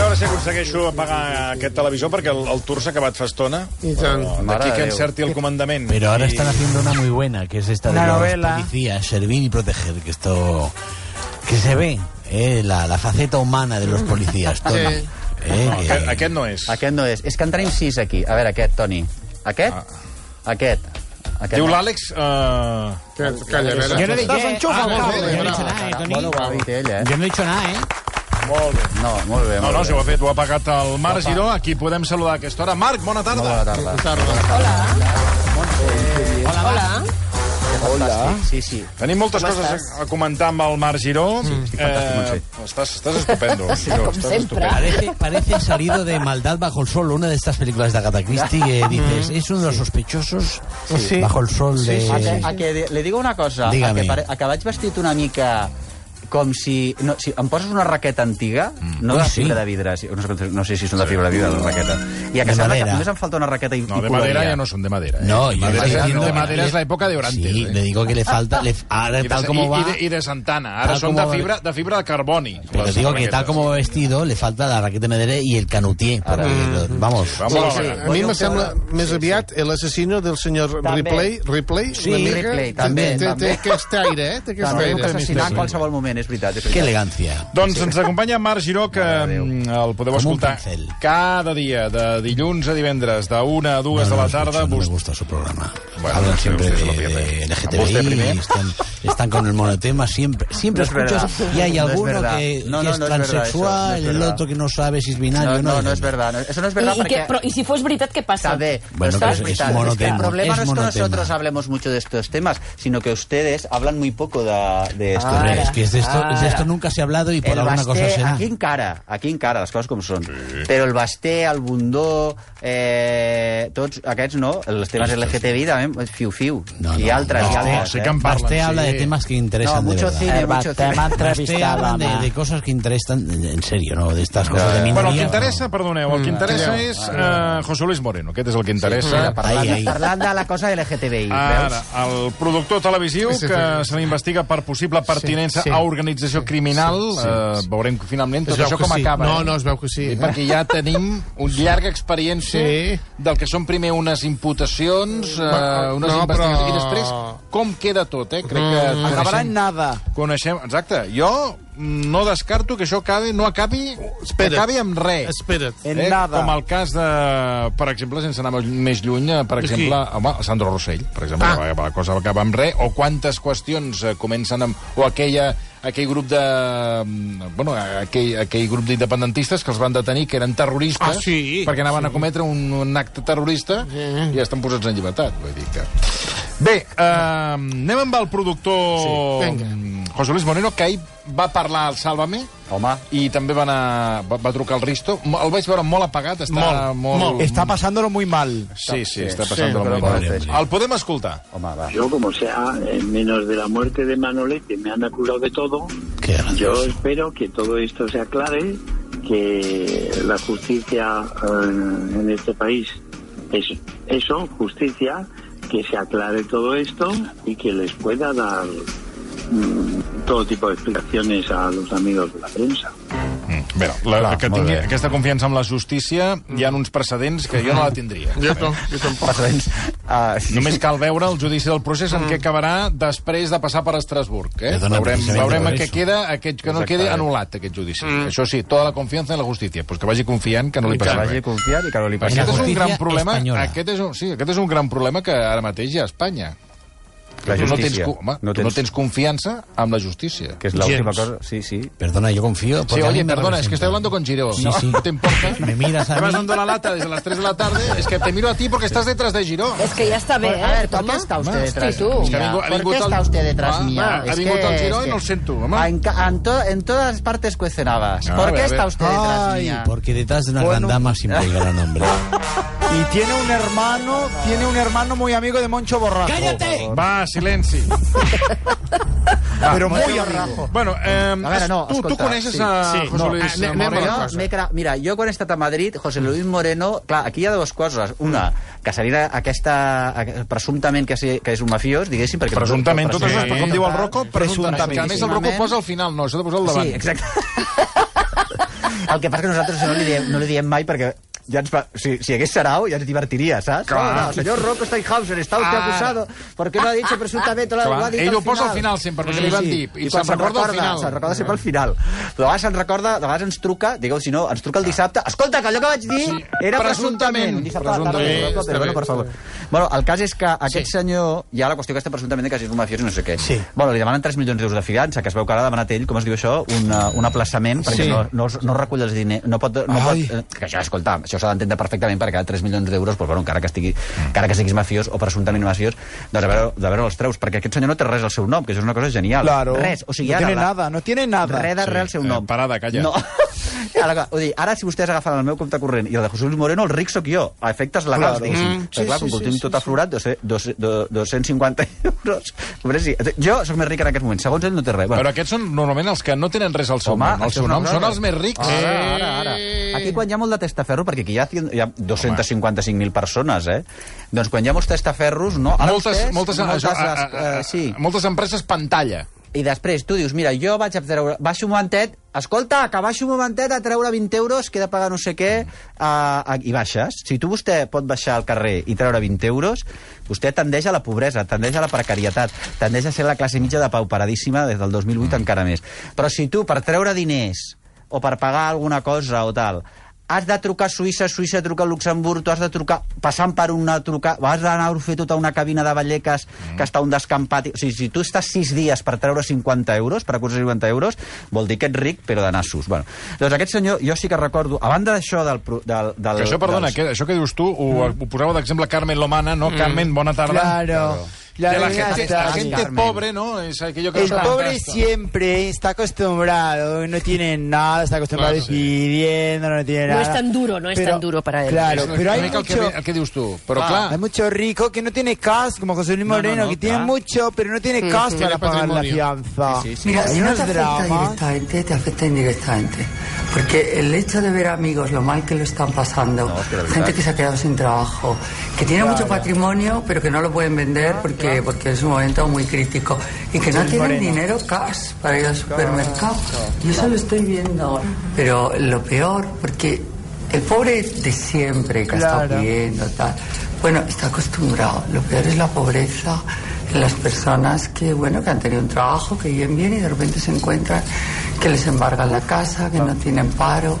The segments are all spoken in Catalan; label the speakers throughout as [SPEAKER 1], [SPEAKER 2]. [SPEAKER 1] aconsegueixo apagar aquest televisor perquè el, el tour s'ha acabat fa estona.
[SPEAKER 2] I tant.
[SPEAKER 1] D'aquí
[SPEAKER 3] de
[SPEAKER 1] que
[SPEAKER 3] Déu.
[SPEAKER 1] encerti el comandament.
[SPEAKER 4] Pero ahora
[SPEAKER 1] I-
[SPEAKER 4] están haciendo una muy buena, que es esta de
[SPEAKER 5] Una
[SPEAKER 4] los
[SPEAKER 5] novela.
[SPEAKER 4] policías, servir y proteger, que esto que se ve, eh, la, la faceta humana de los policías, Tony.
[SPEAKER 2] Sí.
[SPEAKER 4] Eh,
[SPEAKER 1] No,
[SPEAKER 4] que-
[SPEAKER 1] aquest, aquest no és.
[SPEAKER 3] Aquest no és. És que en tenim sis aquí. A veure, aquest, Toni. Aquest? Aquest. aquest
[SPEAKER 1] Ah. Diu
[SPEAKER 3] no.
[SPEAKER 1] l'Àlex... Uh...
[SPEAKER 2] Que- Calla, a veure.
[SPEAKER 4] Yo no he dicho,
[SPEAKER 5] Estás enchufa,
[SPEAKER 4] ah,
[SPEAKER 2] cabrón.
[SPEAKER 4] yo no he dicho nada, eh, Toni.
[SPEAKER 3] Bueno, ho ha dit ell, eh?
[SPEAKER 4] Yo no he dicho nada, eh.
[SPEAKER 1] Molt bé.
[SPEAKER 3] No, molt bé,
[SPEAKER 1] No,
[SPEAKER 3] molt
[SPEAKER 1] no,
[SPEAKER 3] bé.
[SPEAKER 1] si ho ha fet, ho ha pagat el Marc Giró. Aquí podem saludar a aquesta hora. Marc, bona tarda.
[SPEAKER 3] Molt bona tarda.
[SPEAKER 2] Tarda.
[SPEAKER 3] Hola. Sí, sí.
[SPEAKER 1] Tenim moltes coses a, a comentar amb el Marc Giró. Sí, eh, estàs, estàs estupendo. Giró, estàs estupendo.
[SPEAKER 4] Parece, parece salido de Maldad bajo el sol, una de estas películas de Agatha Christie que dices, es uno de los sospechosos
[SPEAKER 5] Sí.
[SPEAKER 4] bajo el sol de...
[SPEAKER 3] A que, a que li digo una cosa. A
[SPEAKER 4] Dígame.
[SPEAKER 3] que, pare- a que vaig vestit una mica com si... No, si em poses una raqueta antiga, no
[SPEAKER 4] Ui,
[SPEAKER 3] de
[SPEAKER 4] sí.
[SPEAKER 3] fibra de vidre, si- no sé, com- no sé si són de fibra de vidre, les raquetes. I a
[SPEAKER 4] De
[SPEAKER 3] que sembla que
[SPEAKER 4] madera.
[SPEAKER 3] només em falta una raqueta i,
[SPEAKER 1] No,
[SPEAKER 3] i
[SPEAKER 1] de madera
[SPEAKER 3] colaria.
[SPEAKER 1] ja no són de madera. Eh?
[SPEAKER 4] No, yo
[SPEAKER 1] madera,
[SPEAKER 4] estoy
[SPEAKER 1] ja-
[SPEAKER 4] diciendo
[SPEAKER 1] de
[SPEAKER 4] que-
[SPEAKER 1] madera és l'època de Orantes.
[SPEAKER 4] Sí,
[SPEAKER 1] eh?
[SPEAKER 4] le digo que le falta... le- ahora,
[SPEAKER 1] I de,
[SPEAKER 4] tal como
[SPEAKER 1] i,
[SPEAKER 4] va...
[SPEAKER 1] i, de, I de Santana. Ara
[SPEAKER 4] Tal
[SPEAKER 1] són
[SPEAKER 4] com
[SPEAKER 1] de
[SPEAKER 4] va-
[SPEAKER 1] fibra, de fibra de carboni.
[SPEAKER 4] Pero
[SPEAKER 1] les
[SPEAKER 4] digo que
[SPEAKER 1] raquetes.
[SPEAKER 4] tal como va vestido le falta la raqueta de madera y el canutier. para que lo- vamos.
[SPEAKER 1] Vamos,
[SPEAKER 2] Sí,
[SPEAKER 1] vamos.
[SPEAKER 2] sí. A mi me sembla més aviat l'assassino del senyor
[SPEAKER 3] També.
[SPEAKER 2] Ripley. Ripley,
[SPEAKER 3] Sí,
[SPEAKER 2] una mica.
[SPEAKER 3] Ripley,
[SPEAKER 2] Té-
[SPEAKER 3] també,
[SPEAKER 2] té- Té
[SPEAKER 3] també.
[SPEAKER 2] aquest aire, eh? Té aquest
[SPEAKER 3] També
[SPEAKER 2] aire.
[SPEAKER 3] puc assassinar en
[SPEAKER 2] mister.
[SPEAKER 3] qualsevol moment, és veritat. És
[SPEAKER 4] Qué
[SPEAKER 3] veritat.
[SPEAKER 4] elegancia.
[SPEAKER 1] Doncs ens acompanya en Marc Giró, que
[SPEAKER 3] Mare de Déu.
[SPEAKER 1] mm, el podeu
[SPEAKER 4] Com un
[SPEAKER 1] escoltar
[SPEAKER 4] pincel.
[SPEAKER 1] cada dia, de dilluns a divendres, de una a dues de la tarda.
[SPEAKER 4] No me
[SPEAKER 1] Vos-
[SPEAKER 4] gusta su programa.
[SPEAKER 1] Bueno,
[SPEAKER 4] Hablan
[SPEAKER 1] sí,
[SPEAKER 4] siempre
[SPEAKER 1] usted se
[SPEAKER 4] de,
[SPEAKER 1] lo pierde.
[SPEAKER 4] de
[SPEAKER 1] A usted
[SPEAKER 4] LGTBI,
[SPEAKER 1] primero.
[SPEAKER 4] están, están con el monotema, siempre, siempre
[SPEAKER 3] No es
[SPEAKER 4] escuchas
[SPEAKER 3] verdad.
[SPEAKER 4] y hay
[SPEAKER 3] No es
[SPEAKER 4] alguno
[SPEAKER 3] verdad. No,
[SPEAKER 4] que, que
[SPEAKER 3] no,
[SPEAKER 4] es
[SPEAKER 3] no es verdad
[SPEAKER 4] transexual,
[SPEAKER 3] eso, no es
[SPEAKER 4] el
[SPEAKER 3] verdad.
[SPEAKER 4] otro que Ah, no sabe si es
[SPEAKER 3] No,
[SPEAKER 4] binario.
[SPEAKER 3] no, no és verdad. No, eso no es verdad
[SPEAKER 6] ¿Y, y
[SPEAKER 3] porque...
[SPEAKER 6] qué- pro- y si fue verdad, ¿qué pasa?
[SPEAKER 3] Sabe,
[SPEAKER 4] Bueno,
[SPEAKER 3] pero
[SPEAKER 4] pero es-
[SPEAKER 3] es
[SPEAKER 4] es
[SPEAKER 3] verdad, es que
[SPEAKER 4] monotema,
[SPEAKER 3] el problema
[SPEAKER 4] es
[SPEAKER 3] no es que
[SPEAKER 4] monotema.
[SPEAKER 3] nosotros hablemos mucho de estos temas, sino que ustedes hablan muy poco de, de esto.
[SPEAKER 4] Hombre, Ah, es que de esto, de
[SPEAKER 3] Ara.
[SPEAKER 4] esto nunca se ha hablado y por
[SPEAKER 3] el
[SPEAKER 4] alguna cosa
[SPEAKER 3] basté,
[SPEAKER 4] será.
[SPEAKER 3] aquí encara, aquí encara, les coses com són. Però el basté, el bundó, eh, tots aquests no, els temes LGTBI també, fiu-fiu.
[SPEAKER 4] No,
[SPEAKER 3] I
[SPEAKER 4] no,
[SPEAKER 3] altres,
[SPEAKER 4] no,
[SPEAKER 3] i altres.
[SPEAKER 1] sí
[SPEAKER 3] eh?
[SPEAKER 1] que en parlen,
[SPEAKER 4] Basté
[SPEAKER 1] sí.
[SPEAKER 4] habla de temas que interesan
[SPEAKER 3] No,
[SPEAKER 4] de
[SPEAKER 3] mucho
[SPEAKER 4] verdad.
[SPEAKER 3] cine,
[SPEAKER 5] El
[SPEAKER 3] mucho
[SPEAKER 5] Basté m'ha
[SPEAKER 3] cine.
[SPEAKER 4] Basté
[SPEAKER 5] entrevistat,
[SPEAKER 4] habla de,
[SPEAKER 5] home.
[SPEAKER 4] de cosas que interesan, en serio, ¿no? De estas cosas de
[SPEAKER 1] Bueno, el que
[SPEAKER 4] minorías,
[SPEAKER 1] interessa,
[SPEAKER 4] no.
[SPEAKER 1] perdoneu, el que interessa
[SPEAKER 2] Adéu.
[SPEAKER 1] és eh, José Luis Moreno. Aquest és el que interessa.
[SPEAKER 3] Mira, Parlant,
[SPEAKER 4] Ai, ai.
[SPEAKER 3] parlant de la cosa LGTBI, veus?
[SPEAKER 1] Ara, el productor televisiu
[SPEAKER 2] Sí, sí,
[SPEAKER 1] que
[SPEAKER 2] sí.
[SPEAKER 1] se l'investiga per possible pertinença
[SPEAKER 2] sí.
[SPEAKER 1] a organització criminal. Eh, veurem que finalment tot
[SPEAKER 2] Es veu
[SPEAKER 1] això
[SPEAKER 2] que
[SPEAKER 1] com
[SPEAKER 2] sí.
[SPEAKER 1] acaba.
[SPEAKER 2] No,
[SPEAKER 1] eh?
[SPEAKER 2] no, es veu que sí.
[SPEAKER 1] I perquè ja tenim una llarga experiència
[SPEAKER 2] Sí.
[SPEAKER 1] del que són primer unes imputacions, eh,
[SPEAKER 2] Bueno,
[SPEAKER 1] unes
[SPEAKER 2] no,
[SPEAKER 1] investigacions, i
[SPEAKER 2] però-
[SPEAKER 1] després com queda tot, eh? Crec que
[SPEAKER 2] Mm.
[SPEAKER 5] Acabarà en
[SPEAKER 1] coneixem,
[SPEAKER 5] nada.
[SPEAKER 1] coneixem... Exacte, jo mm, no descarto que això acabi, no acabi,
[SPEAKER 2] espera't.
[SPEAKER 1] que acabi amb res.
[SPEAKER 2] Espera't.
[SPEAKER 5] En
[SPEAKER 1] Eh,
[SPEAKER 5] nada.
[SPEAKER 1] Com el cas de, per exemple, sense anar més lluny, eh, per
[SPEAKER 2] Qui?
[SPEAKER 1] exemple, home, Sandro Rossell, per exemple,
[SPEAKER 2] Ah.
[SPEAKER 1] ah. la cosa va acabar amb re, o quantes qüestions eh, comencen amb... o aquella, aquell grup de... mm, bueno, aquell, aquell grup d'independentistes que els van detenir, que eren terroristes,
[SPEAKER 2] Ah, sí?
[SPEAKER 1] perquè anaven sí. a cometre un, un acte terrorista sí. i ja estan posats en llibertat, vull dir que... Bé, eh, anem amb el productor
[SPEAKER 2] Sí, vinga.
[SPEAKER 1] mm, José Luis Moreno, que ahir va parlar al Sálvame,
[SPEAKER 3] Home,
[SPEAKER 1] i també va, anar, va, va trucar el Risto. Mo- El vaig veure molt apagat, està molt... molt,
[SPEAKER 5] Está pasándolo muy mal.
[SPEAKER 1] Sí, sí,
[SPEAKER 3] Sí,
[SPEAKER 1] està
[SPEAKER 3] sí,
[SPEAKER 1] passant sí,
[SPEAKER 3] però
[SPEAKER 1] molt
[SPEAKER 3] pobre
[SPEAKER 1] malament.
[SPEAKER 3] Risto.
[SPEAKER 1] El podem escoltar.
[SPEAKER 3] home, va.
[SPEAKER 7] Yo, como sea, eh, menos de la muerte de Manolete, me han acusado de todo.
[SPEAKER 4] Qué grande.
[SPEAKER 7] Yo espero que todo esto se aclare, que la justicia eh, en este país es eso, justicia, que se aclare todo esto y que les pueda dar mm, todo tipo de explicaciones a los amigos de la prensa.
[SPEAKER 1] Mm. Bé, la, la,
[SPEAKER 3] Clar,
[SPEAKER 1] que
[SPEAKER 3] molt
[SPEAKER 1] tingui
[SPEAKER 3] bé.
[SPEAKER 1] aquesta confiança en la justícia, hi ha uns precedents que jo no la tindria.
[SPEAKER 2] Jo, no, jo tampoc.
[SPEAKER 3] Precedents. Ah, sí.
[SPEAKER 1] Només cal veure el judici del procés en què acabarà després de passar per Estrasburg. Eh?
[SPEAKER 4] Que dona
[SPEAKER 1] Veurem,
[SPEAKER 4] precisament
[SPEAKER 1] veurem en
[SPEAKER 4] per
[SPEAKER 1] què
[SPEAKER 4] això.
[SPEAKER 1] queda, aquest, que no quedi anul·lat aquest judici. Això sí, tota la confiança en la justícia. Pues que vagi confiant que no li
[SPEAKER 3] Que
[SPEAKER 1] passa
[SPEAKER 3] vagi
[SPEAKER 1] res.
[SPEAKER 3] a confiar i que no li passi
[SPEAKER 1] Aquest és un
[SPEAKER 4] justícia
[SPEAKER 1] gran problema.
[SPEAKER 4] espanyola.
[SPEAKER 1] Aquest és un, sí, aquest és un gran problema que ara mateix hi ha a Espanya.
[SPEAKER 3] La
[SPEAKER 1] Tu no tens,
[SPEAKER 3] justícia.
[SPEAKER 1] co- home, no, tens... no tens confiança amb la justícia.
[SPEAKER 3] Que és l'última
[SPEAKER 2] Gens.
[SPEAKER 3] cosa. Sí, sí.
[SPEAKER 4] Perdona, yo confío.
[SPEAKER 1] Sí,
[SPEAKER 4] porque a mí
[SPEAKER 1] oye,
[SPEAKER 4] me
[SPEAKER 1] perdona, es que
[SPEAKER 4] representa.
[SPEAKER 1] estoy hablando con Giró.
[SPEAKER 4] Sí,
[SPEAKER 1] ¿no?
[SPEAKER 4] sí.
[SPEAKER 1] ¿No te importa?
[SPEAKER 4] Me miras a
[SPEAKER 1] Te vas
[SPEAKER 4] mí.
[SPEAKER 1] dando la lata desde las 3 de la tarde. Es que te miro a ti porque estás detrás de Giró.
[SPEAKER 6] Es que ya está bien,
[SPEAKER 3] A ver,
[SPEAKER 6] ¿eh?
[SPEAKER 3] ¿por qué
[SPEAKER 6] Toma.
[SPEAKER 3] está usted detrás
[SPEAKER 6] tú.
[SPEAKER 1] Es que ha
[SPEAKER 3] mía?
[SPEAKER 1] vingut- ha
[SPEAKER 3] ¿Por
[SPEAKER 1] vingut
[SPEAKER 3] qué
[SPEAKER 1] el-
[SPEAKER 3] está usted detrás
[SPEAKER 1] Va,
[SPEAKER 3] mía?
[SPEAKER 1] va, ha
[SPEAKER 3] Es
[SPEAKER 1] vingut
[SPEAKER 3] que-
[SPEAKER 1] el Giró
[SPEAKER 3] es
[SPEAKER 1] i
[SPEAKER 3] que
[SPEAKER 1] no el sento, home.
[SPEAKER 3] En, ca- en, to, en todas partes cuestionabas.
[SPEAKER 1] Ah, a
[SPEAKER 3] ¿Por
[SPEAKER 1] ver,
[SPEAKER 3] qué
[SPEAKER 1] a
[SPEAKER 3] está
[SPEAKER 1] ver.
[SPEAKER 3] usted detrás
[SPEAKER 5] Ay,
[SPEAKER 3] mía?
[SPEAKER 4] Porque detrás de una gran dama siempre hay gran hombre.
[SPEAKER 5] Y tiene un hermano, tiene un hermano muy amigo de Moncho Borrajo.
[SPEAKER 4] ¡Cállate!
[SPEAKER 1] Va, silenci.
[SPEAKER 5] Pero muy arrajo.
[SPEAKER 1] Bueno, eh,
[SPEAKER 3] A veure, no,
[SPEAKER 1] tu, tu
[SPEAKER 3] escolta,
[SPEAKER 1] coneixes
[SPEAKER 3] sí. eh,
[SPEAKER 1] a
[SPEAKER 2] Sí.
[SPEAKER 1] José
[SPEAKER 2] No,
[SPEAKER 1] Luis
[SPEAKER 2] anem- anem a
[SPEAKER 1] Moreno?
[SPEAKER 2] una
[SPEAKER 3] Yo m'he cra- Mira, jo quan he estat a Madrid, José Luis Moreno... Clar, aquí hi ha dues coses. Una, que seria aquesta... aqu- Presumptament que, sí, que és un mafiós, diguéssim... Perquè
[SPEAKER 1] Presumptament, tot això,
[SPEAKER 2] Sí.
[SPEAKER 1] com diu el Rocco, presumptament. Que a més el Rocco
[SPEAKER 3] Presumptament.
[SPEAKER 1] posa al final, no, això de posar al davant.
[SPEAKER 3] Sí, exacte. El que passa que nosaltres no li diem, no li diem mai perquè ja ens va, si, si hagués serau ja ens divertiria, saps? Clar. No, no, senyor Rocco Steinhauser, está usted
[SPEAKER 1] Ah.
[SPEAKER 3] acusado porque no ha dicho presuntamente lo,
[SPEAKER 1] Clar.
[SPEAKER 3] lo ha dit
[SPEAKER 1] Ell
[SPEAKER 3] al
[SPEAKER 1] ho posa al final sempre, perquè li van dir, i se'n recorda al final.
[SPEAKER 3] Se'n recorda sempre al final. De vegades se'n recorda, de vegades ens truca, digueu, si no, ens truca el dissabte, escolta, que allò que vaig dir
[SPEAKER 1] Sí, presumptament.
[SPEAKER 3] era presumptament. Un Dissabte a la tarda,
[SPEAKER 1] Presumptament,
[SPEAKER 3] però,
[SPEAKER 1] està bé,
[SPEAKER 3] però, bueno, per
[SPEAKER 1] està
[SPEAKER 3] favor. Bueno, el cas és que aquest senyor, hi ha la qüestió aquesta presumptament de que és un mafiós i no sé què.
[SPEAKER 4] Sí.
[SPEAKER 3] Bueno, li demanen 3 milions d'euros de fiança, que es veu que ara ha demanat ell, com es diu això, un, eh, un aplaçament, perquè
[SPEAKER 5] Sí.
[SPEAKER 3] no, no, es- no recull els diners, no pot... No pot
[SPEAKER 5] Ai.
[SPEAKER 3] eh, que això, escolta, això s'ha d'entendre perfectament, perquè cada 3 milions d'euros, doncs, bueno, encara que, estigui, encara que siguis mafiós o presumptament mafiós, doncs a veure, de veure els treus, perquè aquest senyor no té res al seu nom, que això és una cosa genial.
[SPEAKER 5] Claro.
[SPEAKER 3] Res, o sigui,
[SPEAKER 5] no
[SPEAKER 3] ara...
[SPEAKER 5] tiene
[SPEAKER 3] la-
[SPEAKER 5] nada, no tiene nada.
[SPEAKER 3] Res de
[SPEAKER 1] Sí,
[SPEAKER 3] res al seu
[SPEAKER 1] eh,
[SPEAKER 3] nom.
[SPEAKER 1] parada, calla.
[SPEAKER 3] No. Ara, clar, vull dir, ara, si vostès agafen el meu compte corrent i el de José Luis Moreno, el ric sóc jo, a efectes legals,
[SPEAKER 5] Claro.
[SPEAKER 3] diguéssim.
[SPEAKER 5] Mm,
[SPEAKER 3] Mm,
[SPEAKER 5] sí,
[SPEAKER 3] clar,
[SPEAKER 5] sí,
[SPEAKER 3] com que
[SPEAKER 5] sí,
[SPEAKER 3] ho tinc
[SPEAKER 5] sí,
[SPEAKER 3] tot aflorat, dos, dos, dos, 250 euros. Hombre, sí. Jo sóc més ric en aquest moment. Segons ell, no té res.
[SPEAKER 1] Però aquests són normalment els que no tenen res al seu
[SPEAKER 3] Home,
[SPEAKER 1] nom. El
[SPEAKER 3] això
[SPEAKER 1] seu
[SPEAKER 3] és una
[SPEAKER 1] nom
[SPEAKER 3] cosa
[SPEAKER 1] són
[SPEAKER 3] que-
[SPEAKER 1] els més rics.
[SPEAKER 3] Ara, ara, ara.
[SPEAKER 1] eh!
[SPEAKER 3] Aquí quan hi ha molt de testaferro, perquè aquí hi ha, cien- hi ha 255.000 persones, eh? Doncs quan hi ha molts testaferros, no? Ara
[SPEAKER 1] moltes,
[SPEAKER 3] vostès,
[SPEAKER 1] moltes,
[SPEAKER 3] moltes,
[SPEAKER 1] això, a,
[SPEAKER 3] les-
[SPEAKER 1] a, a,
[SPEAKER 3] eh, sí.
[SPEAKER 1] moltes empreses pantalla.
[SPEAKER 3] I després tu dius, mira, jo vaig a treure... Baixo un momentet, escolta, que baixo un momentet a treure 20 euros, que he de pagar no sé què, a, a, i baixes. Si tu vostè pot baixar al carrer i treure 20 euros, vostè tendeix a la pobresa, tendeix a la precarietat, tendeix a ser la classe mitja de pau paradíssima des del 2008 encara més. Però si tu, per treure diners, o per pagar alguna cosa o tal, has de trucar a Suïssa, Suïssa truca a Luxemburg, tu has de trucar, passant per una truca, has d'anar a fer tota una cabina de balleques mm. que està un descampat... O sigui, si tu estàs 6 dies per treure 50 euros, per acusar 50 euros, vol dir que ets ric, però de nassos. Bueno, doncs aquest senyor, jo sí que recordo, a banda d'això del, pro- del, del...
[SPEAKER 1] Que això, perdona,
[SPEAKER 3] dels...
[SPEAKER 1] que, això que dius tu, ho,
[SPEAKER 3] Mm.
[SPEAKER 1] ho posava d'exemple Carmen Lomana, ¿no? Carmen, bona tarda.
[SPEAKER 5] Claro.
[SPEAKER 1] Que la
[SPEAKER 5] Claro, ya
[SPEAKER 1] gente,
[SPEAKER 5] está.
[SPEAKER 1] la gente
[SPEAKER 3] Carmen.
[SPEAKER 1] pobre, ¿no? Es aquello que
[SPEAKER 5] El
[SPEAKER 1] nos
[SPEAKER 5] pobre
[SPEAKER 1] contrasta.
[SPEAKER 5] siempre está acostumbrado, no tiene nada, está acostumbrado
[SPEAKER 1] Claro, sí.
[SPEAKER 5] pidiendo, no tiene
[SPEAKER 6] No
[SPEAKER 5] nada.
[SPEAKER 6] es tan duro, no es tan duro para él.
[SPEAKER 5] Claro,
[SPEAKER 1] És una
[SPEAKER 5] pero hay
[SPEAKER 1] mica el que,
[SPEAKER 5] mucho,
[SPEAKER 1] el que dius tu. Però,
[SPEAKER 5] Ah,
[SPEAKER 1] clar,
[SPEAKER 5] hay mucho rico que no tiene cas, como José Luis Moreno,
[SPEAKER 3] no, no,
[SPEAKER 5] que tiene
[SPEAKER 3] claro.
[SPEAKER 5] mucho, pero no tiene cas
[SPEAKER 1] Tiene
[SPEAKER 5] para pagar la
[SPEAKER 1] patrimonio.
[SPEAKER 5] fianza.
[SPEAKER 3] Sí, sí, sí.
[SPEAKER 8] Mira,
[SPEAKER 5] hay
[SPEAKER 8] si no
[SPEAKER 5] unos
[SPEAKER 8] te afecta
[SPEAKER 5] dramas.
[SPEAKER 8] directamente, te afecta indirectamente. Porque el hecho de ver amigos lo mal que lo están pasando,
[SPEAKER 3] No, es que la verdad.
[SPEAKER 8] gente que se ha quedado sin trabajo, que tiene mucho patrimonio pero que no lo pueden vender porque, porque es un momento muy crítico y que no tienen dinero cash para ir al supermercado. Yo eso lo estoy viendo. Pero lo peor, porque el pobre de siempre que ha
[SPEAKER 5] Claro.
[SPEAKER 8] estado pidiendo, tal, bueno, está acostumbrado. Lo peor es la pobreza en las personas que, bueno, que han tenido un trabajo, que viven bien y de repente se encuentran que les embargan la casa, que no tienen paro.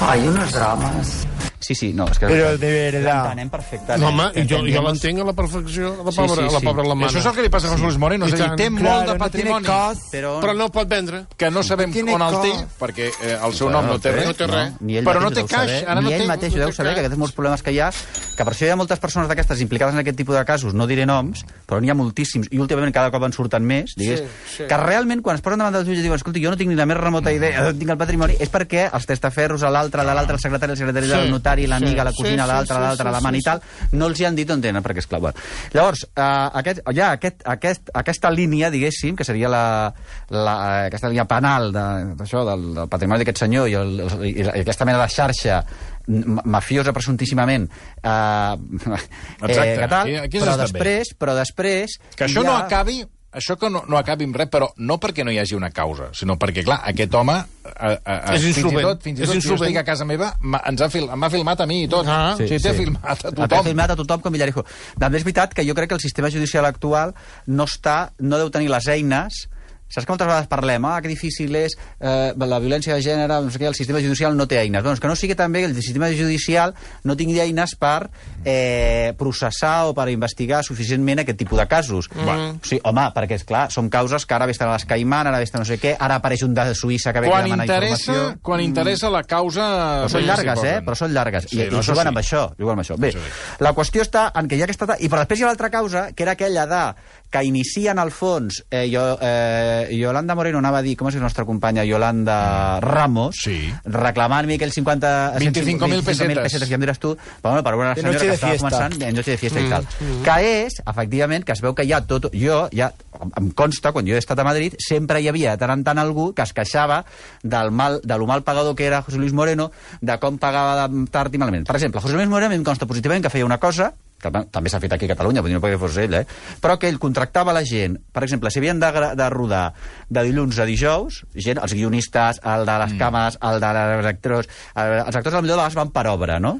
[SPEAKER 8] Hay unos dramas.
[SPEAKER 3] Sí, sí, no, és que...
[SPEAKER 5] Pero de verdad.
[SPEAKER 3] L'entenem perfectament.
[SPEAKER 2] No, home, i jo, jo
[SPEAKER 3] Entendemos-
[SPEAKER 2] l'entenc a la perfecció, a la
[SPEAKER 3] Sí,
[SPEAKER 2] pobra,
[SPEAKER 3] sí,
[SPEAKER 2] a la
[SPEAKER 3] sí.
[SPEAKER 2] pobra alemana.
[SPEAKER 1] això és el que li passa a José Luis Moreno.
[SPEAKER 2] I
[SPEAKER 1] És a dir,
[SPEAKER 2] tant.
[SPEAKER 5] Este
[SPEAKER 1] té molt de
[SPEAKER 5] Claro, no tiene
[SPEAKER 1] patrimoni
[SPEAKER 5] cas.
[SPEAKER 3] Però...
[SPEAKER 2] Però no el pot vendre.
[SPEAKER 1] que no sabem
[SPEAKER 5] tiene
[SPEAKER 1] on el té,
[SPEAKER 5] cas.
[SPEAKER 1] perquè eh, el seu nom no té res.
[SPEAKER 2] Ah, No té res.
[SPEAKER 3] Ni ell
[SPEAKER 1] Però no té
[SPEAKER 3] mateix ho deu
[SPEAKER 1] cash,
[SPEAKER 3] saber,
[SPEAKER 1] ara
[SPEAKER 3] ni
[SPEAKER 1] no
[SPEAKER 3] ell
[SPEAKER 1] té-
[SPEAKER 3] mateix
[SPEAKER 1] no
[SPEAKER 3] ho deu
[SPEAKER 1] té
[SPEAKER 3] saber,
[SPEAKER 1] cash.
[SPEAKER 3] que aquests molts problemes que hi ha, que per això hi ha moltes persones d'aquestes implicades en aquest tipus de casos, no diré noms, però n'hi ha moltíssims, i últimament cada cop en surten més, digués,
[SPEAKER 2] Sí, Mm. sí.
[SPEAKER 3] que realment quan es posen davant del jutge i diuen, escolta, jo no tinc ni la més remota idea d'on tinc el patrimoni, és perquè els testaferros, a l'altre, de l'altre, el secretari, el secretari
[SPEAKER 2] Sí,
[SPEAKER 3] del notari, l'amiga, la
[SPEAKER 2] sí,
[SPEAKER 3] cosina,
[SPEAKER 2] sí,
[SPEAKER 3] l'altre,
[SPEAKER 2] sí,
[SPEAKER 3] l'altre,
[SPEAKER 2] sí,
[SPEAKER 3] la
[SPEAKER 2] sí,
[SPEAKER 3] mani i
[SPEAKER 2] sí.
[SPEAKER 3] tal, no els hi han dit on tenen, perquè és clar. Bueno. Llavors, eh, aquest, hi ha aquest, aquest, aquesta línia, diguéssim, que seria la, la, aquesta línia penal de, això, del, del patrimoni d'aquest senyor i, el, i, la- i aquesta mena de xarxa m- mafiosa presumptíssimament eh,
[SPEAKER 1] Exacte,
[SPEAKER 3] que tal,
[SPEAKER 1] aquí- aquí has
[SPEAKER 3] però,
[SPEAKER 1] estat bé.
[SPEAKER 3] després, però després
[SPEAKER 1] Que això
[SPEAKER 3] hi
[SPEAKER 1] no
[SPEAKER 3] ha-
[SPEAKER 1] acabi això que no, no acabi amb res, però no perquè no hi hagi una causa, sinó perquè, clar, aquest home... A, a, a,
[SPEAKER 2] És
[SPEAKER 1] fins i
[SPEAKER 2] insolvent.
[SPEAKER 1] tot, fins i
[SPEAKER 2] És
[SPEAKER 1] tot, jo
[SPEAKER 2] insolvent.
[SPEAKER 1] estic a casa meva, m'ha ens ha fil, m'ha filmat a mi i tot.
[SPEAKER 2] Ah.
[SPEAKER 1] sí, sí, t'he filmat a
[SPEAKER 3] T'ha
[SPEAKER 1] tothom.
[SPEAKER 3] filmat a tothom com Villarejo. També és veritat que jo crec que el sistema judicial actual no està, no deu tenir les eines Saps que moltes vegades parlem, ah, que difícil és eh, la violència de gènere, no sé què, el sistema judicial no té eines. Doncs que no sigui també que el sistema judicial no tingui eines per eh, processar o per investigar suficientment aquest tipus de casos.
[SPEAKER 1] Mm-hmm.
[SPEAKER 3] Mm. O sigui, home, perquè, és clar, són causes que ara ve estan a les Caimán, ara ve estan no sé què, ara apareix un de Suïssa que ve
[SPEAKER 1] Quan
[SPEAKER 3] que demana
[SPEAKER 1] interessa,
[SPEAKER 3] informació...
[SPEAKER 1] quan interessa la causa...
[SPEAKER 3] Però són
[SPEAKER 1] sí,
[SPEAKER 3] llargues,
[SPEAKER 1] s'hi
[SPEAKER 3] eh?
[SPEAKER 1] posen.
[SPEAKER 3] Però són llargues. I,
[SPEAKER 1] Sí,
[SPEAKER 3] i
[SPEAKER 1] no,
[SPEAKER 3] juguen
[SPEAKER 1] sí.
[SPEAKER 3] amb això, juguen amb això. Bé,
[SPEAKER 1] Això sí.
[SPEAKER 3] la qüestió està en que hi ha aquesta... ta- I però després hi ha l'altra causa, que era aquella de que inicien al fons... Eh, jo, eh, Yolanda Moreno anava a dir, com és la nostra companya Yolanda Ramos,
[SPEAKER 1] Sí.
[SPEAKER 3] reclamant-me que el 50...
[SPEAKER 1] 25.000
[SPEAKER 3] 25.000
[SPEAKER 1] pessetes,
[SPEAKER 3] ja em diràs tu, però, bueno, per una
[SPEAKER 5] De
[SPEAKER 3] senyora
[SPEAKER 5] noche
[SPEAKER 3] que
[SPEAKER 5] de
[SPEAKER 3] estava
[SPEAKER 5] fiesta. Mm,
[SPEAKER 3] començant en noche de fiesta i tal. Que és, efectivament, que es veu que hi ha tot... Jo, ja, em- em consta, quan jo he estat a Madrid, sempre hi havia de tant en tant algú que es queixava del mal, de lo mal pagador que era José Luis Moreno, de com pagava de tard i malament. Per exemple, José Luis Moreno a mi em consta positivament que feia una cosa que va- també s'ha fet aquí a Catalunya, vull dir, no perquè fos ell, eh? però que ell contractava la gent, per exemple, si havien de, gra- de rodar de dilluns a dijous, gent, els guionistes, el de les mm. càmeres, el de els actors, eh, els actors potser de vegades van per obra, no?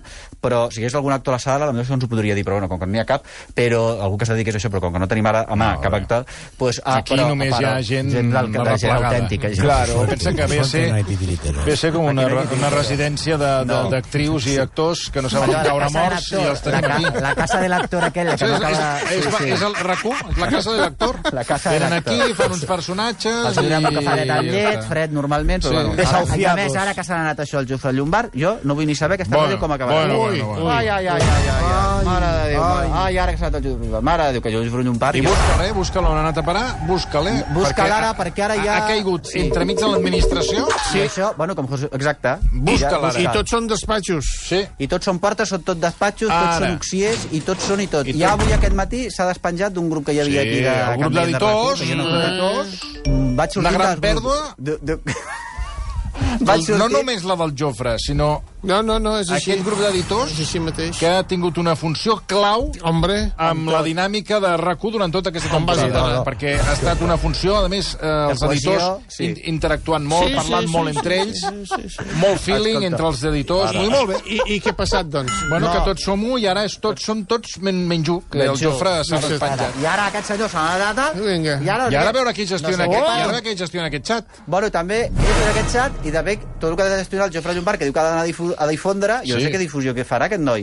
[SPEAKER 3] Però si hi hagués algun actor a la sala, potser això ens ho podria dir, però bueno, com que no n'hi ha cap, però algú que es dediqués a això, però com que no tenim ara a mà
[SPEAKER 1] No,
[SPEAKER 3] cap
[SPEAKER 1] bé.
[SPEAKER 3] actor, doncs, ah,
[SPEAKER 1] Ah, Aquí
[SPEAKER 3] però,
[SPEAKER 1] només hi
[SPEAKER 3] però,
[SPEAKER 1] ha gent,
[SPEAKER 3] gent,
[SPEAKER 1] no
[SPEAKER 3] del- de, gent
[SPEAKER 1] replegada.
[SPEAKER 3] autèntica. Gent
[SPEAKER 1] Claro, pensa que ve a ser,
[SPEAKER 4] No hay titiriteros.
[SPEAKER 1] ve a ser com una,
[SPEAKER 3] Aquí no hi ha
[SPEAKER 1] una residència de- de-
[SPEAKER 3] No.
[SPEAKER 1] d'actrius i actors que no saben
[SPEAKER 3] Allò,
[SPEAKER 1] on
[SPEAKER 3] la
[SPEAKER 1] caure
[SPEAKER 3] casa de
[SPEAKER 1] morts i
[SPEAKER 3] l'actor,
[SPEAKER 1] els tenim
[SPEAKER 3] la ca-
[SPEAKER 1] aquí.
[SPEAKER 3] La casa de l'actor aquell, la que no
[SPEAKER 1] és,
[SPEAKER 3] acaba...
[SPEAKER 1] és, és, és el racó, és la casa de l'actor.
[SPEAKER 3] La casa de
[SPEAKER 1] Venen
[SPEAKER 3] l'actor.
[SPEAKER 1] aquí, fan uns personatges...
[SPEAKER 3] els diran que faré tan
[SPEAKER 1] i ja
[SPEAKER 3] llet,
[SPEAKER 1] està.
[SPEAKER 3] fred normalment,
[SPEAKER 1] Sí.
[SPEAKER 3] però bueno. Ara, a
[SPEAKER 5] Desahuciados.
[SPEAKER 3] més, ara que s'ha anat això al Jofre Llombard, jo no vull ni saber aquesta
[SPEAKER 1] Bueno,
[SPEAKER 3] ràdio com acabarà.
[SPEAKER 1] bueno, bueno, bueno.
[SPEAKER 3] Ai, ai, ai, ai, ai, ai, mare de Déu, mare. ai, ara que s'ha anat al Jofre Llombard, mare de Déu, que jo Jofre Llombard...
[SPEAKER 1] I
[SPEAKER 3] jo-
[SPEAKER 1] busca-la, eh? Busca-la on ha anat a parar, busca-la. eh,
[SPEAKER 3] Busca-la
[SPEAKER 1] perquè
[SPEAKER 3] ara,
[SPEAKER 1] ha-
[SPEAKER 3] perquè ara ja-
[SPEAKER 1] Ha, ha caigut
[SPEAKER 3] Sí.
[SPEAKER 1] entremig de l'administració.
[SPEAKER 3] I això, bueno, com José, exacte.
[SPEAKER 1] Busca-la ara.
[SPEAKER 2] I tots són despatxos.
[SPEAKER 1] Sí.
[SPEAKER 3] I tots són portes, són tot despatxos, tots
[SPEAKER 1] Ara.
[SPEAKER 3] són oxiers, i tots són i tot.
[SPEAKER 1] I
[SPEAKER 3] I ja
[SPEAKER 1] tot.
[SPEAKER 3] avui aquest matí s'ha despenjat d'un grup que hi havia
[SPEAKER 1] Sí,
[SPEAKER 3] aquí de...
[SPEAKER 1] el grup
[SPEAKER 3] canviant de
[SPEAKER 1] d'editors,
[SPEAKER 3] recursos, jo no
[SPEAKER 1] eh,
[SPEAKER 3] conec. Mm, Vaig sortir
[SPEAKER 1] una gran
[SPEAKER 3] dels grups-
[SPEAKER 1] pèrdua.
[SPEAKER 3] De, de...
[SPEAKER 1] El-
[SPEAKER 3] Vaig sortir...
[SPEAKER 1] Doncs No només la del Jofre, sinó
[SPEAKER 2] No, no, no, és així.
[SPEAKER 1] aquest grup d'editors
[SPEAKER 2] És així mateix.
[SPEAKER 1] que ha tingut una funció clau
[SPEAKER 2] Hombre,
[SPEAKER 1] amb la dinàmica de RAC1 durant tota aquesta
[SPEAKER 2] Amb base
[SPEAKER 1] temporada,
[SPEAKER 2] de-
[SPEAKER 1] perquè ha estat una funció, a més, eh, els
[SPEAKER 3] cohesió,
[SPEAKER 1] editors
[SPEAKER 3] sí.
[SPEAKER 1] in interactuant molt,
[SPEAKER 2] Sí,
[SPEAKER 1] parlant
[SPEAKER 2] sí,
[SPEAKER 1] molt
[SPEAKER 2] sí,
[SPEAKER 1] entre
[SPEAKER 2] sí,
[SPEAKER 1] ells,
[SPEAKER 2] sí, sí, sí.
[SPEAKER 1] molt feeling entre els editors, molt, molt bé.
[SPEAKER 2] I, i què ha passat, doncs?
[SPEAKER 1] Bueno, que tots som un i ara és tots, som tots men, menys un, que el
[SPEAKER 3] Menys un.
[SPEAKER 1] Jofre s'ha
[SPEAKER 2] Sí, sí.
[SPEAKER 1] despenjat.
[SPEAKER 3] I ara aquest senyor s'ha anat
[SPEAKER 2] Vinga.
[SPEAKER 3] I ara,
[SPEAKER 1] I ara a veure qui gestiona,
[SPEAKER 3] No sé
[SPEAKER 1] aquest,
[SPEAKER 3] què.
[SPEAKER 1] i ara qui gestiona aquest xat.
[SPEAKER 3] Bueno, també és en aquest xat i també tot el que ha de gestionar el Jofre Llombard, que diu que ha d'anar a, difu a difondre,
[SPEAKER 1] Sí.
[SPEAKER 3] jo no sé què difusió que farà aquest noi.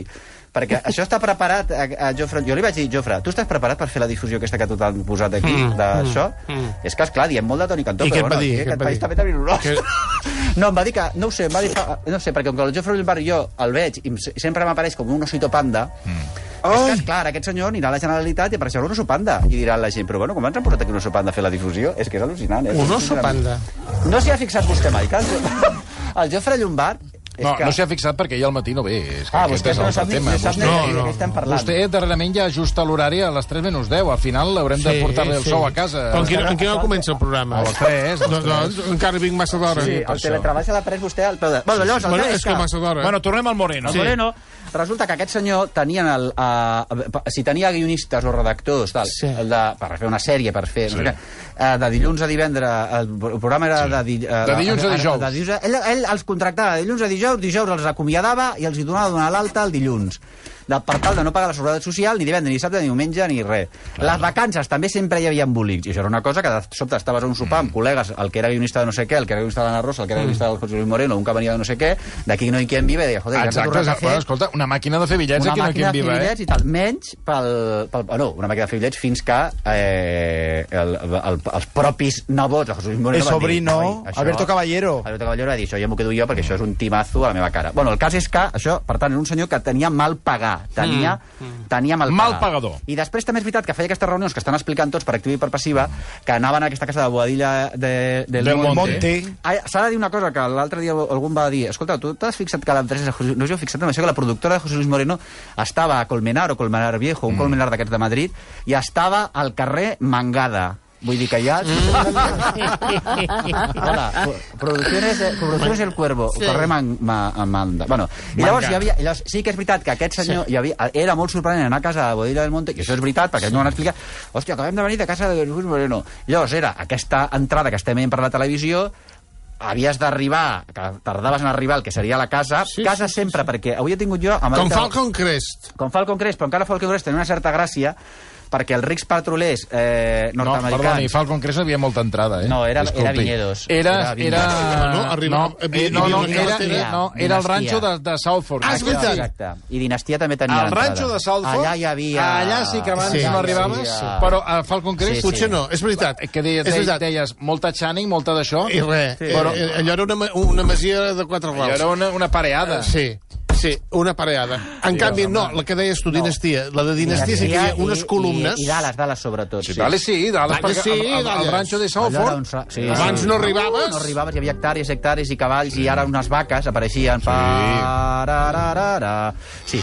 [SPEAKER 3] Perquè això està preparat a, a Jofre... Jo li vaig dir, Jofre, tu estàs preparat per fer la difusió aquesta que tu t'han posat aquí, mm, d'això? Mm, és que, esclar, diem molt de Toni Cantó,
[SPEAKER 2] I què
[SPEAKER 3] però
[SPEAKER 2] et va
[SPEAKER 3] bueno,
[SPEAKER 2] dir? Què
[SPEAKER 3] aquí
[SPEAKER 2] et
[SPEAKER 3] aquest
[SPEAKER 2] va
[SPEAKER 3] país
[SPEAKER 2] dir?
[SPEAKER 3] també té vinulós.
[SPEAKER 2] Què-
[SPEAKER 3] No, em va dir que, no ho sé, em va dir, fa- no sé, perquè com que el Jofre Llombard jo el veig i em- sempre m'apareix com un osito panda, mm. És que, esclar, aquest senyor anirà a la Generalitat i apareixerà un oso panda. I dirà la gent, però bueno, com ens han posat aquí un oso panda a fer la difusió? És que és al·lucinant, eh?
[SPEAKER 2] Un oso panda.
[SPEAKER 3] No s'hi ha fixat vostè mai, que el, Jo- el Jofre Llombard... és
[SPEAKER 1] No,
[SPEAKER 3] que...
[SPEAKER 1] no s'hi ha fixat perquè ja al matí no ve. És que
[SPEAKER 3] Ah,
[SPEAKER 1] aquest
[SPEAKER 3] vostè
[SPEAKER 1] és
[SPEAKER 3] no
[SPEAKER 1] l'altre
[SPEAKER 3] sap ni,
[SPEAKER 1] tema.
[SPEAKER 3] no sap ni
[SPEAKER 1] Vostè-
[SPEAKER 3] de què estem parlant.
[SPEAKER 1] Vostè darrerament ja ajusta l'horari a les 3 menys 10. Al final haurem de portar-li el sou a casa.
[SPEAKER 2] En quina, en quina hora comença el programa?
[SPEAKER 1] A les tres, a les
[SPEAKER 2] Doncs, doncs, encara vinc massa d'hora.
[SPEAKER 3] Sí,
[SPEAKER 1] per
[SPEAKER 3] el
[SPEAKER 1] això.
[SPEAKER 3] teletreball s'ha de pres vostè al peu de... Bueno, llavors, el
[SPEAKER 2] Bueno,
[SPEAKER 3] cas
[SPEAKER 2] és que eh? massa d'hora.
[SPEAKER 1] Bueno, tornem al Moreno.
[SPEAKER 3] el Moreno, resulta que aquest senyor tenien el, eh, si tenia guionistes o redactors tal,
[SPEAKER 2] Sí.
[SPEAKER 3] el de, per fer una sèrie per fer, no sé què, eh, de dilluns a divendres el programa era de, di, eh,
[SPEAKER 1] De dilluns a dijous.
[SPEAKER 3] de dilluns a, ell, ell els contractava de dilluns a dijous, dijous els acomiadava i els hi donava donar l'alta el dilluns de, per tal de no pagar la seguretat social ni divendres, ni dissabte, ni diumenge, ni res. Les vacances també sempre hi havia embolics. I això era una cosa que de sobte estaves a un sopar
[SPEAKER 1] Mm.
[SPEAKER 3] amb col·legues, el que era guionista de no sé què, el que era guionista de l'Anna Rosa, el que era guionista del José Luis Moreno, un que venia de no sé què, d'aquí no hi quien vive, i deia, joder, ja s'ha
[SPEAKER 1] Exacte,
[SPEAKER 3] tornat a
[SPEAKER 1] exacte.
[SPEAKER 3] fer
[SPEAKER 1] Bueno, escolta, una màquina de fer bitllets
[SPEAKER 3] una
[SPEAKER 1] aquí no hi
[SPEAKER 3] màquina
[SPEAKER 1] quien
[SPEAKER 3] de
[SPEAKER 1] viva, eh?
[SPEAKER 3] fibrilets i tal, menys pel, pel, no, una màquina de fibrilets fins que eh, el, el, els propis nebots, el Jesús Moreno, van
[SPEAKER 5] El
[SPEAKER 3] dir,
[SPEAKER 5] sobrino,
[SPEAKER 3] "Noi,
[SPEAKER 5] Alberto Caballero."
[SPEAKER 3] Alberto Caballero va dir, això ja m'ho quedo jo perquè això és un timazo a la meva cara. Bueno, el cas és que això, per tant, era un senyor que tenia mal pagar, tenia, tenia mal,
[SPEAKER 1] Mm, Mal
[SPEAKER 3] pagar.
[SPEAKER 1] pagador.
[SPEAKER 3] I després també és veritat que feia aquestes reunions que estan explicant tots per activa i per passiva, que anaven a aquesta casa de Boadilla de, del,
[SPEAKER 1] Del
[SPEAKER 3] Monte.
[SPEAKER 1] Monte.
[SPEAKER 3] Ah, S'ha de dir una cosa que l'altre dia algú em va dir escolta, tu t'has fixat que l'empresa... de José- No us heu fixat en això, que la productora de José Luis Moreno estava a Colmenar o Colmenar Viejo,
[SPEAKER 1] Mm.
[SPEAKER 3] un Colmenar d'aquests de Madrid, i estava al carrer Mangada. Vull dir que ja...
[SPEAKER 1] Mm.
[SPEAKER 3] Hola, pro- producciones, eh, producciones El Cuervo, carrer Man, ma, Manda. Bueno, i llavors, hi havia, llavors, sí que és veritat que aquest senyor hi havia, era molt sorprenent anar a casa de Bodilla del Monte, i això és veritat, perquè sí. no van explicar, hòstia, acabem de venir de casa de Luis Moreno. Llavors, era aquesta entrada que estem veient per la televisió, havies d'arribar, que tardaves en arribar al que seria la casa, sí, casa sí, sempre, sí, perquè avui he tingut jo... Amb
[SPEAKER 2] Com
[SPEAKER 3] el-
[SPEAKER 2] Falcon Crest.
[SPEAKER 3] Com Falcon Crest, però encara Falcon Crest tenia una certa gràcia, perquè els rics patrulers eh,
[SPEAKER 1] No, perdoni,
[SPEAKER 3] nord-americans...
[SPEAKER 1] Falcon Crest no havia molta entrada, eh?
[SPEAKER 3] No, era- era
[SPEAKER 1] Disculpi.
[SPEAKER 3] Viñedos.
[SPEAKER 1] Era,
[SPEAKER 3] Era
[SPEAKER 1] era...
[SPEAKER 3] Viñedos.
[SPEAKER 2] Bueno, arriba-
[SPEAKER 1] Ah, no, eh, no, no,
[SPEAKER 2] Viñedos.
[SPEAKER 1] era,
[SPEAKER 2] Dinastia.
[SPEAKER 1] no, era el ranxo de, de Southfork.
[SPEAKER 2] Ah, és veritat.
[SPEAKER 3] Exacte. I Dinastia també tenia
[SPEAKER 1] Al
[SPEAKER 3] l'entrada.
[SPEAKER 1] ranxo de Southfork,
[SPEAKER 3] Allà hi havia...
[SPEAKER 1] allà sí que abans
[SPEAKER 2] Sí.
[SPEAKER 1] no arribaves,
[SPEAKER 3] Sí,
[SPEAKER 1] sí.
[SPEAKER 3] ja.
[SPEAKER 1] però eh, a Falcon Crest...
[SPEAKER 3] Sí, sí.
[SPEAKER 2] Potser no, és veritat.
[SPEAKER 1] Que deia,
[SPEAKER 2] és
[SPEAKER 1] deia,
[SPEAKER 2] veritat.
[SPEAKER 1] deies molta Channing, molta d'això,
[SPEAKER 2] I res.
[SPEAKER 3] Sí.
[SPEAKER 2] Sí. Però... Allò era una, ma- una masia de
[SPEAKER 1] i
[SPEAKER 2] quatre rals.
[SPEAKER 1] era una, una pareada.
[SPEAKER 2] Sí, sí, una pareada. En sí, canvi, no, la que deies tu, dinastia. La de dinastia sí que hi ha
[SPEAKER 3] i-
[SPEAKER 2] unes columnes.
[SPEAKER 3] I, i Dallas, Dallas sobretot.
[SPEAKER 1] Sí, Dale, sí, dale,
[SPEAKER 2] Dale,
[SPEAKER 1] perquè
[SPEAKER 2] sí,
[SPEAKER 1] al- al- al
[SPEAKER 2] dale.
[SPEAKER 1] ranxo de
[SPEAKER 3] Allò era
[SPEAKER 1] Southfork...
[SPEAKER 3] un sa- sí,
[SPEAKER 2] Abans
[SPEAKER 3] sí.
[SPEAKER 2] no arribaves.
[SPEAKER 3] No arribaves, hi havia hectàrees, hectàrees i cavalls, i ara unes vaques apareixien. Sí. Pa, ra, ra, ra, ra. sí.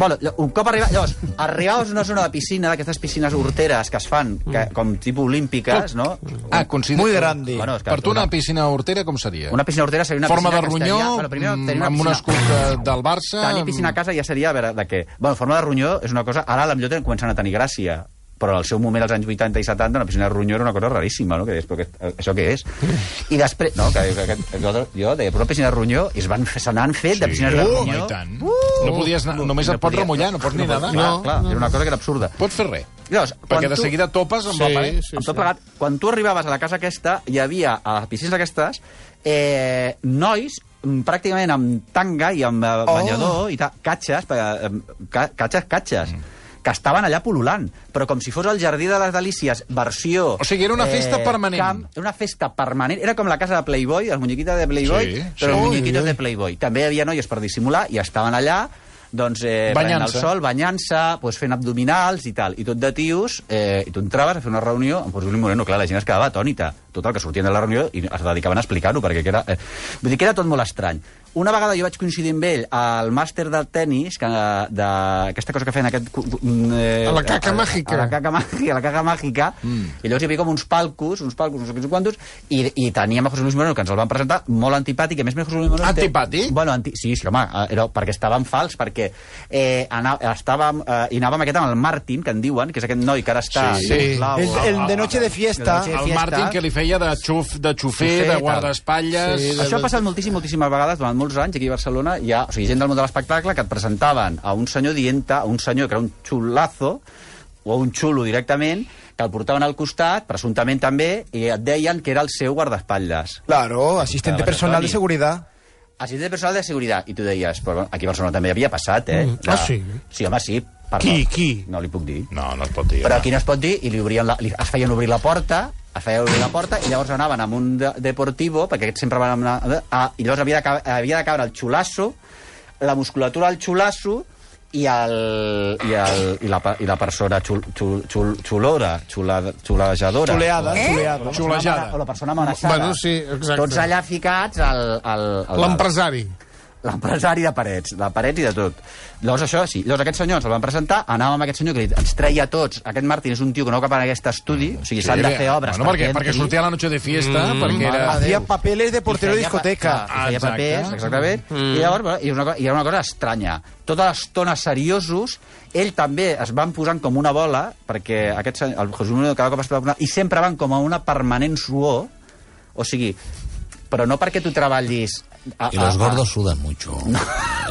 [SPEAKER 3] Bueno, ll- un cop arriba... Llavors, arribaves a una zona de piscina, d'aquestes piscines horteres que es fan, que,
[SPEAKER 1] Mm.
[SPEAKER 3] com tipus olímpiques, no?
[SPEAKER 1] Ah, considera...
[SPEAKER 5] Muy grande.
[SPEAKER 3] Bueno, és que
[SPEAKER 1] Per tu una
[SPEAKER 3] una-
[SPEAKER 1] piscina hortera com seria?
[SPEAKER 3] Una piscina hortera seria una
[SPEAKER 1] forma de
[SPEAKER 3] piscina... que
[SPEAKER 1] ronyó,
[SPEAKER 3] estaria- bueno, primer,
[SPEAKER 1] mm,
[SPEAKER 3] tenir una
[SPEAKER 1] amb un
[SPEAKER 3] piscina-
[SPEAKER 1] escut de- del Barça...
[SPEAKER 3] Tenir piscina a casa ja seria, a veure, de què? Bueno, forma de ronyó és una cosa... Ara, a la millor, tenen- comencen a tenir gràcia però al seu moment, als anys 80 i 70, una piscina de ronyó era una cosa raríssima, no? Que deies, però que, això què és? I després... No, que, que, que jo, jo deia, però una piscina de ronyó, i es van, fer- se n'han fet sí. de piscines de
[SPEAKER 1] Uh,
[SPEAKER 3] ronyó.
[SPEAKER 1] i tant. no podies anar, només
[SPEAKER 3] no
[SPEAKER 1] et pots
[SPEAKER 3] podia-
[SPEAKER 1] remullar, no pots ni
[SPEAKER 3] pots-
[SPEAKER 1] nedar.
[SPEAKER 3] Clar, clar, era una cosa que era absurda.
[SPEAKER 1] Pots fer res.
[SPEAKER 3] Llavors, quan
[SPEAKER 1] Perquè de
[SPEAKER 3] tu-
[SPEAKER 1] seguida topes amb la paret.
[SPEAKER 3] amb tot plegat, quan tu arribaves a la casa aquesta, hi havia, a les piscines aquestes, eh, nois mm, pràcticament amb tanga i amb oh. banyador i tal, catxes, perquè, eh, ca- catxes, catxes, mm. que estaven allà pol·lulant, però com si fos el Jardí de les Delícies, versió...
[SPEAKER 1] O
[SPEAKER 3] eh,
[SPEAKER 1] sigui, era una festa permanent.
[SPEAKER 3] era una festa permanent. Era com la casa de Playboy, els muñequitos de Playboy,
[SPEAKER 1] Sí,
[SPEAKER 3] sí, però
[SPEAKER 1] sí.
[SPEAKER 3] els muñequitos de Playboy. També hi havia noies per dissimular i estaven allà doncs, eh, prenent el
[SPEAKER 1] Banyant-se.
[SPEAKER 3] sol, banyant-se, doncs, fent abdominals i tal. I tot de tios, eh, i tu entraves a fer una reunió amb José Luis Moreno. Clar, la gent es quedava atònita. Tot el que sortien de la reunió i es dedicaven a explicar-ho, perquè que era... Eh, vull dir que era tot molt estrany. Una vegada jo vaig coincidir amb ell al màster del tennis, que, eh, de, aquesta cosa que feien aquest... cu- cu- Eh,
[SPEAKER 2] A la caca
[SPEAKER 3] a- a-
[SPEAKER 2] màgica.
[SPEAKER 3] A la caca màgica, a la caca màgica. Mm. I llavors hi havia com uns palcos, uns palcos, uns quantos, i, i teníem a José Luis Moreno, que ens el van presentar, molt antipàtic, i a més a més José Luis Moreno... té-
[SPEAKER 1] Antipàtic?
[SPEAKER 3] Bueno, anti... sí, sí, home, eh, era perquè estàvem fals, perquè eh, anà, estàvem, eh, i anàvem aquest amb el Martin, que en diuen, que és aquest noi que ara està...
[SPEAKER 1] Sí,
[SPEAKER 2] sí.
[SPEAKER 3] Blau,
[SPEAKER 5] El, el de noche de fiesta.
[SPEAKER 3] De noche de
[SPEAKER 1] El
[SPEAKER 3] fiesta.
[SPEAKER 1] Martin que li feia de xuf, de xufer,
[SPEAKER 3] Xufeta.
[SPEAKER 1] de guardaespatlles...
[SPEAKER 2] Sí, de-
[SPEAKER 3] Això ha passat moltíssim, moltíssimes vegades durant molts anys aquí a Barcelona. Hi ha o sigui, gent del món de l'espectacle que et presentaven a un senyor dient a un senyor que era un xulazo, o a un xulo directament, que el portaven al costat, presumptament també, i et deien que era el seu guardaespatlles.
[SPEAKER 5] Claro, asistente
[SPEAKER 3] Estaba
[SPEAKER 5] personal de
[SPEAKER 3] Tony.
[SPEAKER 5] seguridad.
[SPEAKER 3] Assistent de personal de seguretat. I tu deies, però aquí a Barcelona també havia passat, eh?
[SPEAKER 2] Mm. Ah, sí?
[SPEAKER 3] Sí, home, sí. Perdó.
[SPEAKER 2] Qui, qui?
[SPEAKER 3] No li puc dir.
[SPEAKER 1] No, no es pot dir. eh?
[SPEAKER 3] Però aquí no es pot dir, i li obrien la, li, es feien obrir la porta, es feien obrir la porta, i llavors anaven amb un de, deportivo, perquè aquests sempre van amb una, a, i llavors havia de, ca- havia de caure el xulasso, la musculatura al xulasso, i, el, i, el, i, la, pe- i la persona xul, xul, xul, xulora, xula, xulejadora.
[SPEAKER 5] Chuleada, chuleada.
[SPEAKER 1] Xulejada.
[SPEAKER 3] O la persona amenaçada.
[SPEAKER 2] Bueno, sí, exacte.
[SPEAKER 3] Tots allà ficats al... al, al
[SPEAKER 2] L'empresari.
[SPEAKER 3] L'empresari de parets, de parets i de tot. Llavors, això, sí. Llavors, aquest senyor ens el van presentar, anàvem amb aquest senyor que li- ens treia a tots. Aquest Martín és un tio que no cap en aquest estudi, o sigui, s'han de fer obres.
[SPEAKER 1] Bueno, perquè,
[SPEAKER 3] entri.
[SPEAKER 1] perquè sortia a la noche de fiesta, mm, perquè
[SPEAKER 3] mare
[SPEAKER 1] era...
[SPEAKER 3] de
[SPEAKER 5] Hacía
[SPEAKER 3] Adeu.
[SPEAKER 5] papeles de portero
[SPEAKER 3] I
[SPEAKER 5] de
[SPEAKER 3] feia pa-
[SPEAKER 5] discoteca.
[SPEAKER 3] clar, I feia
[SPEAKER 1] Exacte.
[SPEAKER 3] papers, exactament. I llavors, bueno, i, una, co- i era una cosa estranya. Tota l'estona seriosos, ell també es van posant com una bola, perquè aquest, senyor- el José Manuel cada cop es posava una... I sempre van com a una permanent suor, o sigui, pero no para que tú trabajes...
[SPEAKER 4] Y los gordos sudan mucho.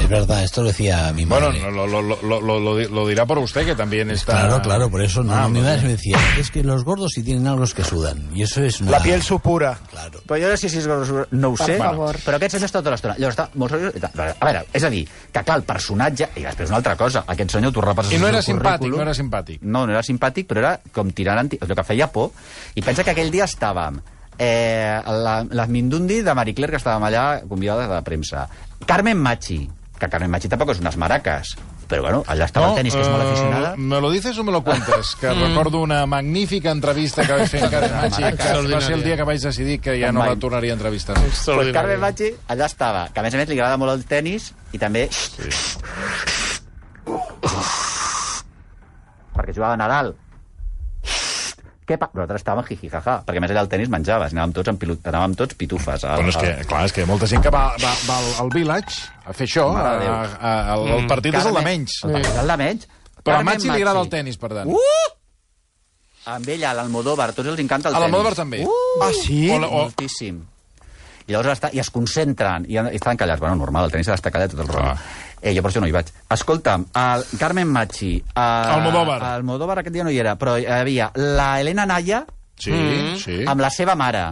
[SPEAKER 4] Es verdad, esto lo decía mi madre.
[SPEAKER 1] Bueno, no, lo, lo, lo, lo, lo, di- lo dirá por usted, que también está...
[SPEAKER 4] Claro, claro, por eso no.
[SPEAKER 1] Ah,
[SPEAKER 4] mi
[SPEAKER 1] muy
[SPEAKER 4] madre
[SPEAKER 1] bien.
[SPEAKER 4] me decía, es que los gordos sí tienen algo es que sudan. Y eso es una...
[SPEAKER 5] La piel supura.
[SPEAKER 4] Claro.
[SPEAKER 3] Però jo no sé si és gros, no ho sé,
[SPEAKER 6] favor.
[SPEAKER 3] però aquest senyor està tota l'estona. Llavors està molt seriós i tal. A veure, és a dir, que clar, el personatge... I després una altra cosa, aquest senyor tu repasses...
[SPEAKER 1] I no
[SPEAKER 3] el
[SPEAKER 1] era
[SPEAKER 3] seu
[SPEAKER 1] simpàtic,
[SPEAKER 3] currículum.
[SPEAKER 1] no era simpàtic.
[SPEAKER 3] No, no era simpàtic, però era com tirant anti... El que feia por. I pensa que aquell dia estàvem... Eh, la, les Mindundi de Marie Claire, que estàvem allà convidades a la premsa. Carmen Machi, que Carmen Machi tampoc és unes maraques, però bueno, allà estava el tenis, que és molt
[SPEAKER 1] eh,
[SPEAKER 3] aficionada. Mm.
[SPEAKER 1] ¿Me lo dices o me lo cuentas? Que recordo una magnífica entrevista que vaig fer a Karen Machi, que va ser el dia que vaig decidir que ja no la tornaria a entrevistar.
[SPEAKER 3] Pues
[SPEAKER 2] Extraordinari.
[SPEAKER 3] Carmen Machi allà estava, que a més a més li agrada molt el tennis i també... Sí. perquè jugava a Nadal. Què pa... Nosaltres estàvem jijijaja, perquè a més allà el tennis menjaves, anàvem tots, amb pilu... anàvem tots pitufes. A,
[SPEAKER 1] Bueno, és que, clar, és que molta gent que va, va, va al- al Village a fer això, a,
[SPEAKER 3] Mare de Déu. Mm.
[SPEAKER 1] a, a, el, el partit és el de menys.
[SPEAKER 3] El partit és el de menys.
[SPEAKER 1] Però a
[SPEAKER 3] Carmen
[SPEAKER 1] Machi li agrada el tennis, per tant.
[SPEAKER 3] Uh! Amb ella, a l'Almodóvar, tots els encanta el
[SPEAKER 1] a
[SPEAKER 3] tennis.
[SPEAKER 1] la Modover també.
[SPEAKER 5] Ah, sí.
[SPEAKER 1] O la- o-
[SPEAKER 3] Moltíssim. I llavors està, i es concentren, i, i estan callats. Bueno, normal, el tenis ha d'estar callat tot el rato. Eh, jo per això no hi vaig. Escolta'm, el Carmen Machi... El,
[SPEAKER 1] Almodóvar.
[SPEAKER 3] El Modóvar aquest dia no hi era, però hi havia la Helena Naya
[SPEAKER 1] Sí,
[SPEAKER 3] Mm.
[SPEAKER 1] sí.
[SPEAKER 3] amb la seva mare,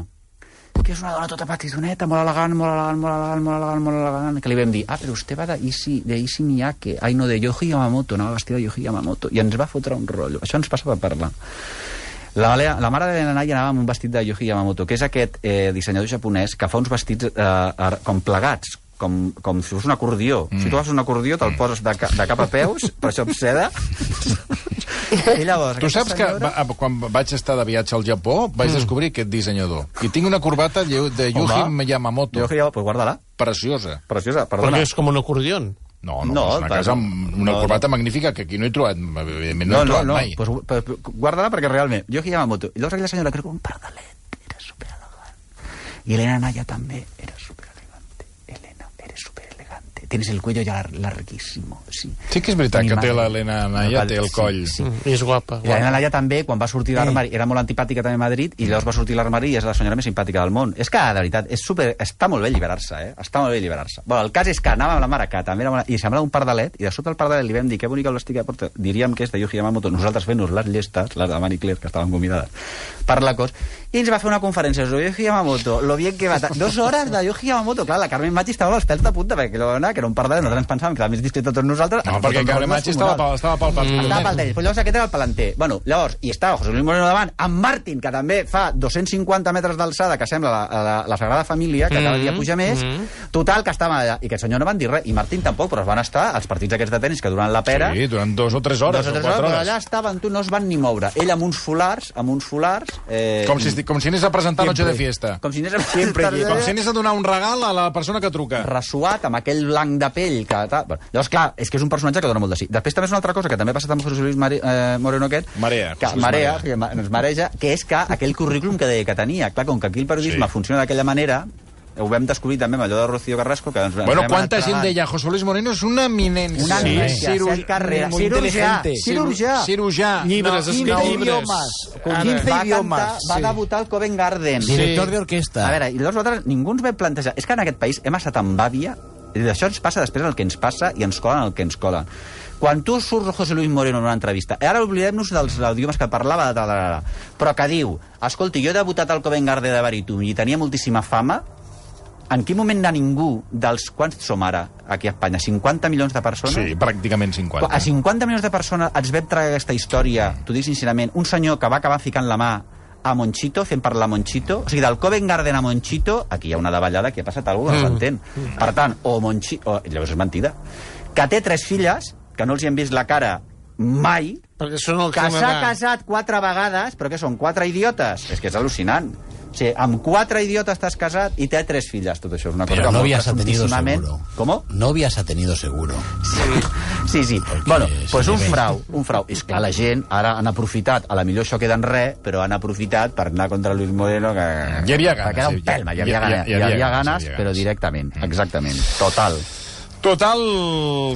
[SPEAKER 3] que és una dona tota petitona, molt elegant, molt elegant, molt elegant, molt elegant, molt elegant, que li vam dir, ah, però vostè va de Isi, de Isi Miyake, ai no, de Yoji Yamamoto, anava vestida de Yoji Yamamoto, i ens va fotre un rotllo. Això ens passa per parlar. La, Lea- la mare de Nanai anava amb un vestit de Yoji Yamamoto, que és aquest eh, dissenyador japonès que fa uns vestits eh, ar- com plegats, com, com si fos un acordió. Mm. Si tu agafes un acordió, te'l poses de, ca, de cap a peus, per això em seda. I llavors,
[SPEAKER 1] Tu
[SPEAKER 3] aquesta
[SPEAKER 1] saps que va, a- quan vaig estar de viatge al Japó vaig descobrir aquest dissenyador. I tinc una corbata lleu- de Yuji
[SPEAKER 3] Mm. Home.
[SPEAKER 1] Yamamoto,
[SPEAKER 3] Yoji Yamamoto, pues guarda-la.
[SPEAKER 1] preciosa.
[SPEAKER 3] Preciosa, perdona.
[SPEAKER 2] Perquè és com un acordion.
[SPEAKER 1] No, no,
[SPEAKER 3] No,
[SPEAKER 1] no és una
[SPEAKER 3] va,
[SPEAKER 1] casa
[SPEAKER 3] no.
[SPEAKER 1] amb una
[SPEAKER 3] No,
[SPEAKER 1] corbata magnífica que aquí no he trobat, evidentment no, he trobat mai.
[SPEAKER 3] Pues, gu- pues, guarda-la perquè realment... Jo aquí amb moto. I llavors aquella senyora, crec que un pardalet, era superelegant. I Elena Naya també era superelegante. Elena, eres superelegante. Tienes el cuello ya lar- larguísimo, sí.
[SPEAKER 1] Sí que és veritat
[SPEAKER 3] Mi
[SPEAKER 1] que té
[SPEAKER 3] madre.
[SPEAKER 1] l'Helena Naya,
[SPEAKER 3] Cal-
[SPEAKER 1] té el
[SPEAKER 3] sí,
[SPEAKER 1] coll. Mm.
[SPEAKER 3] Sí,
[SPEAKER 2] I és guapa.
[SPEAKER 3] I la Elena Laia també, quan va sortir de l'armari, era molt antipàtica també a Madrid, i llavors va sortir de l'armari i és la senyora més simpàtica del món. És que, de veritat, és super... està molt bé alliberar-se, eh? Està molt bé alliberar-se. Bueno, el cas és que anava amb la mare, que també era molt... i semblava un pardalet, i de sota el pardalet li vam dir que bonica l'hòstia que porta. Diríem que és de Yuji Yamamoto. Nosaltres fent-nos les llestes, les de Marie Claire, que estaven convidades, per la cos. I ens va fer una conferència sobre Yuji Yamamoto, lo bien que va... ta- Dos hores de Yuji Yamamoto. Clar, la Carmen Machi estava amb els pèls de punta, perquè la dona, que era un pardalet, nosaltres ens pensàvem que era més distinta de tots nosaltres.
[SPEAKER 1] No, perquè
[SPEAKER 3] doncs
[SPEAKER 1] Carles Machi estava, pel- estava pel partit.
[SPEAKER 3] Estava pel tenis. Però llavors aquest era el palanter. Bueno, llavors, i estava José Luis Moreno davant, amb Martín, que també fa 250 metres d'alçada, que sembla la, la, la Sagrada Família, que cada
[SPEAKER 1] Mm.
[SPEAKER 3] dia puja més. Total, que estava allà. I que el senyor no van dir res. I Martín tampoc, però es van estar als partits aquests de tenis que duran la pera.
[SPEAKER 1] Sí, durant dos o tres hores,
[SPEAKER 3] doncs Dos o tres
[SPEAKER 1] o quatre
[SPEAKER 3] hores,
[SPEAKER 1] hores.
[SPEAKER 3] però allà estaven, tu no es van ni moure. Ell amb uns folars, amb uns folars... Eh,
[SPEAKER 1] Com si, esti- com si anés a presentar Noche de Fiesta.
[SPEAKER 3] com si anés a...
[SPEAKER 1] Com si anés a donar un regal a la persona que truca.
[SPEAKER 3] ressuat, amb aquell blanc de pell que... Ta... Bueno, llavors, clar, és que és un personatge que dona molt de sí. Després també és una altra cosa que també ha passat amb José Luis Mare... eh, Moreno aquest...
[SPEAKER 1] Marea,
[SPEAKER 3] Que,
[SPEAKER 1] José Luis
[SPEAKER 3] marea,
[SPEAKER 1] Marea.
[SPEAKER 3] que ma- ens mareja, que és que aquell currículum que deia que tenia, clar, com que aquí el periodisme
[SPEAKER 1] Sí.
[SPEAKER 3] sí. funciona d'aquella manera, ho vam descobrir també amb allò de Rocío Carrasco, que ens ens
[SPEAKER 1] Bueno,
[SPEAKER 3] vam
[SPEAKER 1] quanta
[SPEAKER 3] anar
[SPEAKER 1] gent
[SPEAKER 3] tragant.
[SPEAKER 1] deia José Luis Moreno és una eminència.
[SPEAKER 3] Una
[SPEAKER 1] Sí.
[SPEAKER 3] sí.
[SPEAKER 1] Ciru-
[SPEAKER 3] Sergi Carrera,
[SPEAKER 5] muy
[SPEAKER 3] cirurgià,
[SPEAKER 5] inteligente.
[SPEAKER 3] cirurgià.
[SPEAKER 1] Cirurgià.
[SPEAKER 2] Llibres,
[SPEAKER 1] No,
[SPEAKER 2] escriu
[SPEAKER 1] quin
[SPEAKER 2] llibres.
[SPEAKER 5] idiomes.
[SPEAKER 2] Ara.
[SPEAKER 5] Con 15
[SPEAKER 3] Va, cantar,
[SPEAKER 5] idiomes.
[SPEAKER 3] va
[SPEAKER 5] Sí.
[SPEAKER 3] debutar al Covent Garden.
[SPEAKER 4] Director de orquesta.
[SPEAKER 3] A veure, i llavors nosaltres ningú ens ve plantejar... És que en aquest país hem estat amb bàbia i això ens passa després el que ens passa i ens colen el que ens colen. Quan tu surts José Luis Moreno en una entrevista, "Eh, ara oblidem-nos dels idiomes que parlava, de tararara, però que diu, escolti, jo he debutat al Covent Garden de Baritum i tenia moltíssima fama, en quin moment de ningú dels quants som ara aquí a Espanya? 50 milions de persones?
[SPEAKER 1] Sí, pràcticament
[SPEAKER 3] Quan
[SPEAKER 1] 50.
[SPEAKER 3] A 50 milions de persones ens vam tragar aquesta història, t'ho dic sincerament, un senyor que va acabar ficant la mà a Monchito, fent parlar a Monchito, o sigui, del Covent Garden a Monchito, aquí hi ha una davallada, aquí ha passat alguna cosa, no s'entén. Per tant, o Monchito... O, llavors és mentida. Que té tres filles, que no els hi han vist la cara mai,
[SPEAKER 2] Perquè són el
[SPEAKER 3] que s'ha
[SPEAKER 2] Canadà.
[SPEAKER 3] casat quatre vegades, però que són quatre idiotes. És que és al·lucinant. O sigui, amb quatre idiotes t'has casat i té tres filles, tot això. És una cosa
[SPEAKER 4] Pero
[SPEAKER 3] que
[SPEAKER 4] novias ha
[SPEAKER 3] mostra
[SPEAKER 4] tenido
[SPEAKER 3] sortosíssimament-
[SPEAKER 4] seguro.
[SPEAKER 3] ¿Cómo?
[SPEAKER 4] Novias ha tenido seguro.
[SPEAKER 3] Sí, sí.
[SPEAKER 4] Perquè
[SPEAKER 3] Bueno,
[SPEAKER 4] se
[SPEAKER 3] pues
[SPEAKER 4] li
[SPEAKER 3] un
[SPEAKER 4] ve.
[SPEAKER 3] frau, un frau. És clar, la gent ara han aprofitat, a la millor això queda en res, però han aprofitat per anar contra Luis Moreno que...
[SPEAKER 1] Hi havia ganes,
[SPEAKER 3] Perquè era
[SPEAKER 1] hi
[SPEAKER 3] un
[SPEAKER 1] havia-
[SPEAKER 3] pelma, hi havia
[SPEAKER 1] hi havia-
[SPEAKER 3] ganes.
[SPEAKER 1] hi
[SPEAKER 3] Hi
[SPEAKER 1] havia
[SPEAKER 3] havia
[SPEAKER 1] ganes, hi
[SPEAKER 3] ganes,
[SPEAKER 1] havia
[SPEAKER 3] però
[SPEAKER 1] ganes.
[SPEAKER 3] directament, exactament. Total.
[SPEAKER 1] Total,